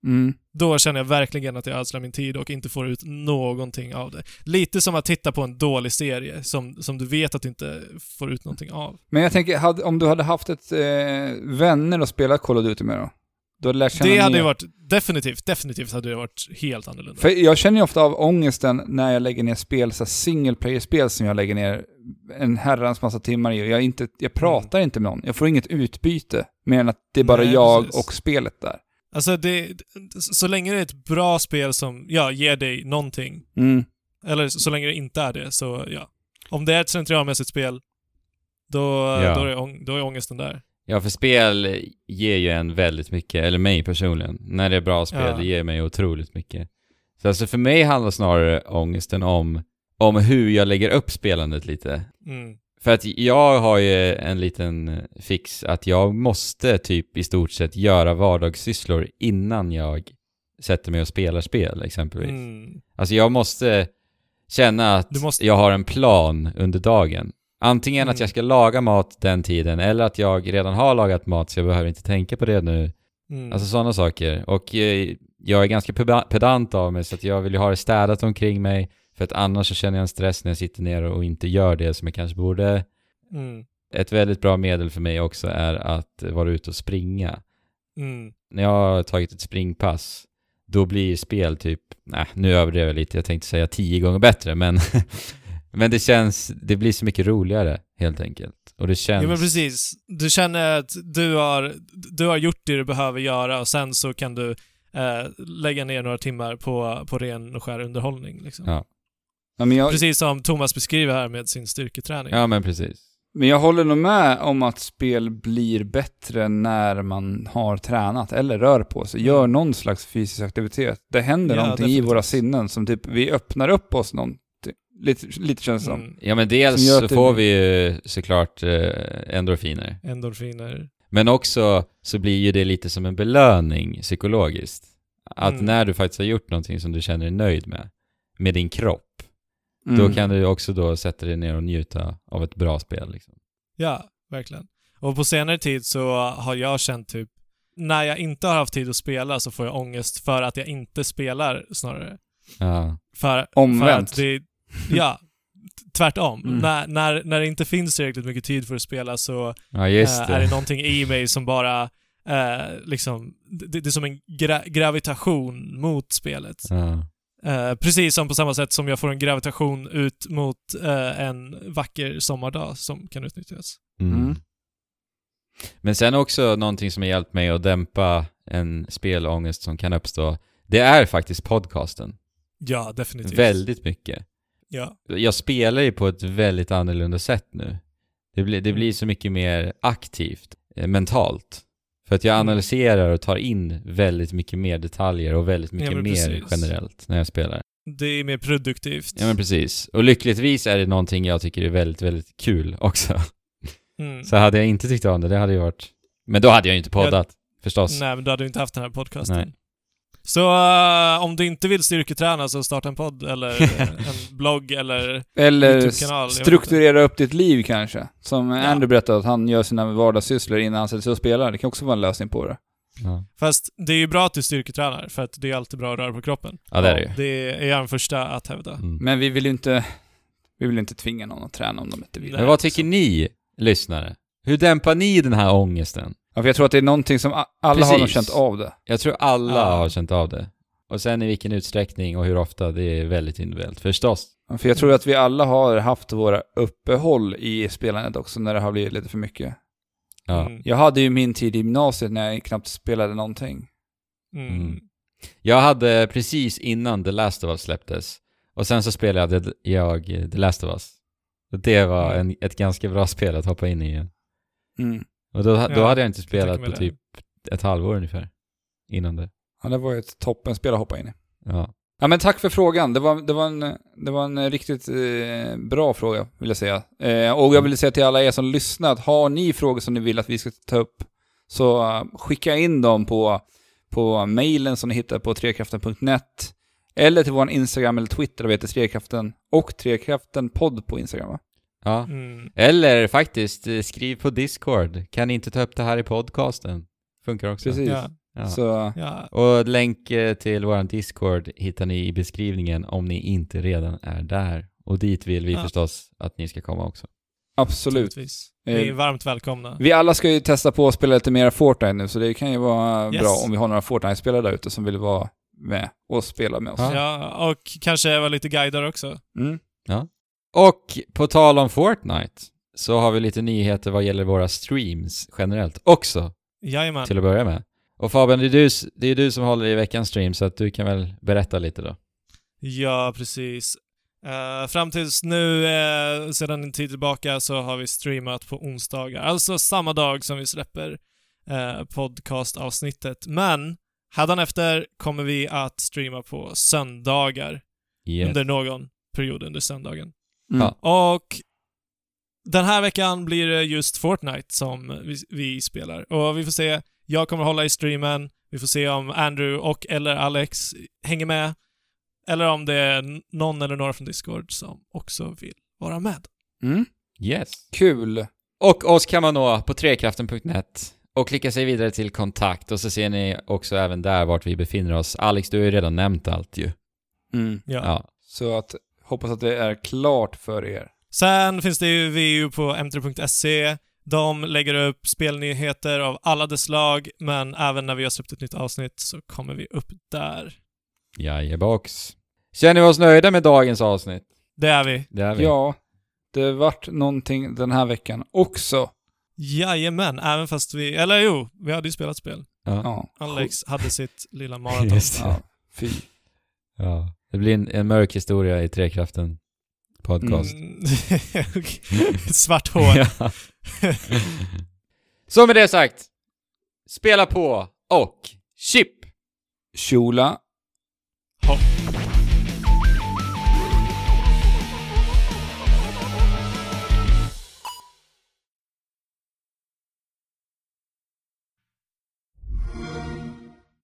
Mm.
Då känner jag verkligen att jag ödslar min tid och inte får ut någonting av det. Lite som att titta på en dålig serie som, som du vet att du inte får ut någonting av.
Men jag tänker, hade, om du hade haft ett eh, vänner att spela Call of Duty med då? Du hade lärt känna
Det hade
nya-
ju varit, definitivt, definitivt hade det varit helt annorlunda.
För jag känner ju ofta av ångesten när jag lägger ner spel, så här single player-spel som jag lägger ner en herrans massa timmar i. och Jag, är inte, jag pratar inte med någon, jag får inget utbyte. Mer än att det är bara
Nej,
jag
precis.
och spelet där.
Alltså det, så länge det är ett bra spel som, ja, ger dig någonting,
Mm.
eller så länge det inte är det, så ja. Om det är ett slentrianmässigt spel, då,
Ja.
då, är ång- då är ångesten där.
Ja, för spel ger ju en väldigt mycket, eller mig personligen. När det är bra spel,
Ja.
det ger mig otroligt mycket. Så alltså för mig handlar snarare ångesten om, om hur jag lägger upp spelandet lite.
Mm.
För att jag har ju en liten fix att jag måste typ i stort sett göra vardagssysslor innan jag sätter mig och spelar spel exempelvis.
Mm.
Alltså jag måste känna
Du
att
måste-
jag har en plan under dagen. Antingen att
Mm.
jag ska laga mat den tiden eller att jag redan har lagat mat så jag behöver inte tänka på det nu.
Mm.
Alltså sådana saker. Och eh, jag är ganska peda- pedant av mig så att jag vill ju ha det städat omkring mig för att annars så känner jag en stress när jag sitter ner och inte gör det som jag kanske borde.
mm.
Ett väldigt bra medel för mig också är att vara ute och springa.
Mm.
När jag har tagit ett springpass, då blir spel typ, nej nu överdrev jag lite, jag tänkte säga tio gånger bättre, men, men det känns, det blir så mycket roligare helt enkelt. Och det känns...
Jo men precis. Du känner att du har, du har gjort det du behöver göra och sen så kan du eh, lägga ner några timmar på, på ren och skär underhållning. Liksom.
Ja.
Ja, men, jag,
Precis som Thomas beskriver här med sin styrketräning.
Ja men precis.
men jag håller nog med om att spel blir bättre när man har tränat eller rör på sig. Gör någon slags fysisk aktivitet. Det händer
Ja,
någonting i
definitivt.
våra sinnen som typ, vi öppnar upp oss någonting. Lite, lite känns det som.
Mm.
Ja men
Som gör
dels
att
så
det-
får vi ju såklart eh, endorfiner.
Endorfiner.
Men också så blir ju det lite som en belöning psykologiskt. Att
Mm.
när du faktiskt har gjort någonting som du känner dig nöjd med, med din kropp,
Mm.
då kan du också då sätta dig ner och njuta av ett bra spel. Liksom.
Ja, verkligen. Och på senare tid så har jag känt typ, när jag inte har haft tid att spela så får jag ångest för att jag inte spelar snarare.
Ja.
För, För
Omvänt.
att det, ja, t- tvärtom.
Mm.
När, när, när det inte finns tillräckligt mycket tid för att spela så
ja, just
eh,
det.
är det någonting i mig som bara eh, liksom, det, det är som en gra- gravitation mot spelet.
ja.
Eh, precis som på samma sätt som jag får en gravitation ut mot eh, en vacker sommardag som kan utnyttjas.
Mm.
Mm.
Men sen också någonting som har hjälpt mig att dämpa en spelångest som kan uppstå, det är faktiskt podcasten.
Ja, definitivt.
Väldigt mycket.
Ja.
jag spelar ju på ett väldigt annorlunda sätt nu. Det blir, det blir så mycket mer aktivt eh, mentalt. För att jag
Mm.
analyserar och tar in väldigt mycket mer detaljer och väldigt mycket
men
mer
precis.
generellt när jag spelar.
Det är mer produktivt.
Ja men precis. Och lyckligtvis är det någonting jag tycker är väldigt, väldigt kul också.
mm.
Så hade jag inte tyckt om det, det hade ju varit... Men då hade jag ju inte poddat, förstås.
Nej, men då hade du inte haft den här podcasten.
Nej.
Så eh, om du inte vill styrketräna så starta en podd eller eh, en blogg eller...
Eller
YouTube-kanal, jag vet
strukturera upp ditt liv kanske. Som
Ja.
Andrew berättade, att han gör sina vardagssysslor innan han sätter sig och spelar. Det kan också vara en lösning på det.
Ja.
Fast det är ju bra att du styrketränar för att det är alltid bra att röra på kroppen.
ja, det är det ju.
Det är jag den första att hävda.
Mm.
Men vi vill ju inte, vi vill inte tvinga någon att träna om de inte vill.
Nej.
Men vad tycker ni, lyssnare? Hur dämpar ni den här ångesten?
Ja, för jag tror att det är någonting som a- alla har nog
Precis.
känt av det.
Jag tror alla
Ja.
har känt av det. Och sen i vilken utsträckning och hur ofta, det är väldigt individuellt förstås.
Ja, För jag tror att vi alla har haft våra uppehåll i spelandet också när det har blivit lite för mycket.
Ja.
Mm.
Jag hade ju min tid i gymnasiet när jag knappt spelade någonting.
Mm.
Mm. Jag hade precis innan The Last of Us släpptes och sen så spelade jag, jag The Last of Us. Och det var
Mm.
en, ett ganska bra spel att hoppa in i igen.
Mm.
Och då, då
Ja,
hade jag inte spelat
tänker
på
mig
typ ett halvår ungefär innan det.
Ja, det var ju ett toppenspel att hoppa in i.
Ja.
Ja, men tack för frågan. Det var, det var, en, det var en riktigt eh, bra fråga, vill jag säga. Eh, och jag vill säga till alla er som lyssnat, har ni frågor som ni vill att vi ska ta upp, så eh, skicka in dem på, på mejlen som ni hittar på trekraften.net, eller till vår Instagram eller Twitter, där vi heter Trekraften, och Trekraftenpodd på Instagram, va?
ja.
Mm.
Eller faktiskt, eh, skriv på Discord. Kan ni inte ta upp det här i podcasten? Funkar också.
Precis.
Ja,
Ja.
Så,
ja.
Och länk eh, till vår Discord hittar ni i beskrivningen om ni inte redan är där. Och dit vill vi
Ja.
förstås att ni ska komma också.
absolut.
Givetvis.
Eh,
Ni är varmt välkomna.
Vi alla ska ju testa på att spela lite mer Fortnite nu, så det kan ju vara
Yes.
bra om vi har några Fortnite-spelare där ute som vill vara med och spela med oss.
Ja.
Ja, och kanske vara lite guider också.
Mm.
Och på tal om Fortnite så har vi lite nyheter vad gäller våra streams generellt också
Jajamän.
till att börja med. Och Fabian, det är du, s- det är du som håller i veckans stream så att du kan väl berätta lite då.
Ja, precis. Eh, fram tills nu, eh, sedan en tid tillbaka, så har vi streamat på onsdagar. Alltså samma dag som vi släpper eh, podcastavsnittet. Men hädanefter kommer vi att streama på söndagar
Yes.
under någon period under söndagen.
Mm.
Ja.
Och Den här veckan blir det just Fortnite som vi, vi spelar. Och vi får se. Jag kommer hålla i streamen. Vi får se om Andrew och eller Alex hänger med. Eller om det är n- någon eller några från Discord som också vill vara med.
Mm.
Yes.
Kul.
Och oss kan man nå på trekraften.net och klicka sig vidare till kontakt och så ser ni också även där vart vi befinner oss. Alex, du har ju redan nämnt allt ju.
Mm.
Ja.
Ja.
Så att, hoppas att det är klart för er.
Sen finns det ju VU på m3.se. E. De lägger upp spelnyheter av alla dess slag, men även när vi har släppt ett nytt avsnitt så kommer vi upp där.
Jajebox. Känner vi oss nöjda med dagens avsnitt?
Det är vi.
Det är vi.
Ja, det vart någonting den här veckan också.
Jajamän, även fast vi... Eller jo, vi hade ju spelat spel.
Ja.
Ja.
Alex hade sitt lilla maraton.
Just det.
Ja, fy.
Ja. Det blir en, en mörk historia i Trekraften podcast.
Mm, okej. Svart hår.
Ja. så med det sagt, spela på och chip!
Kjola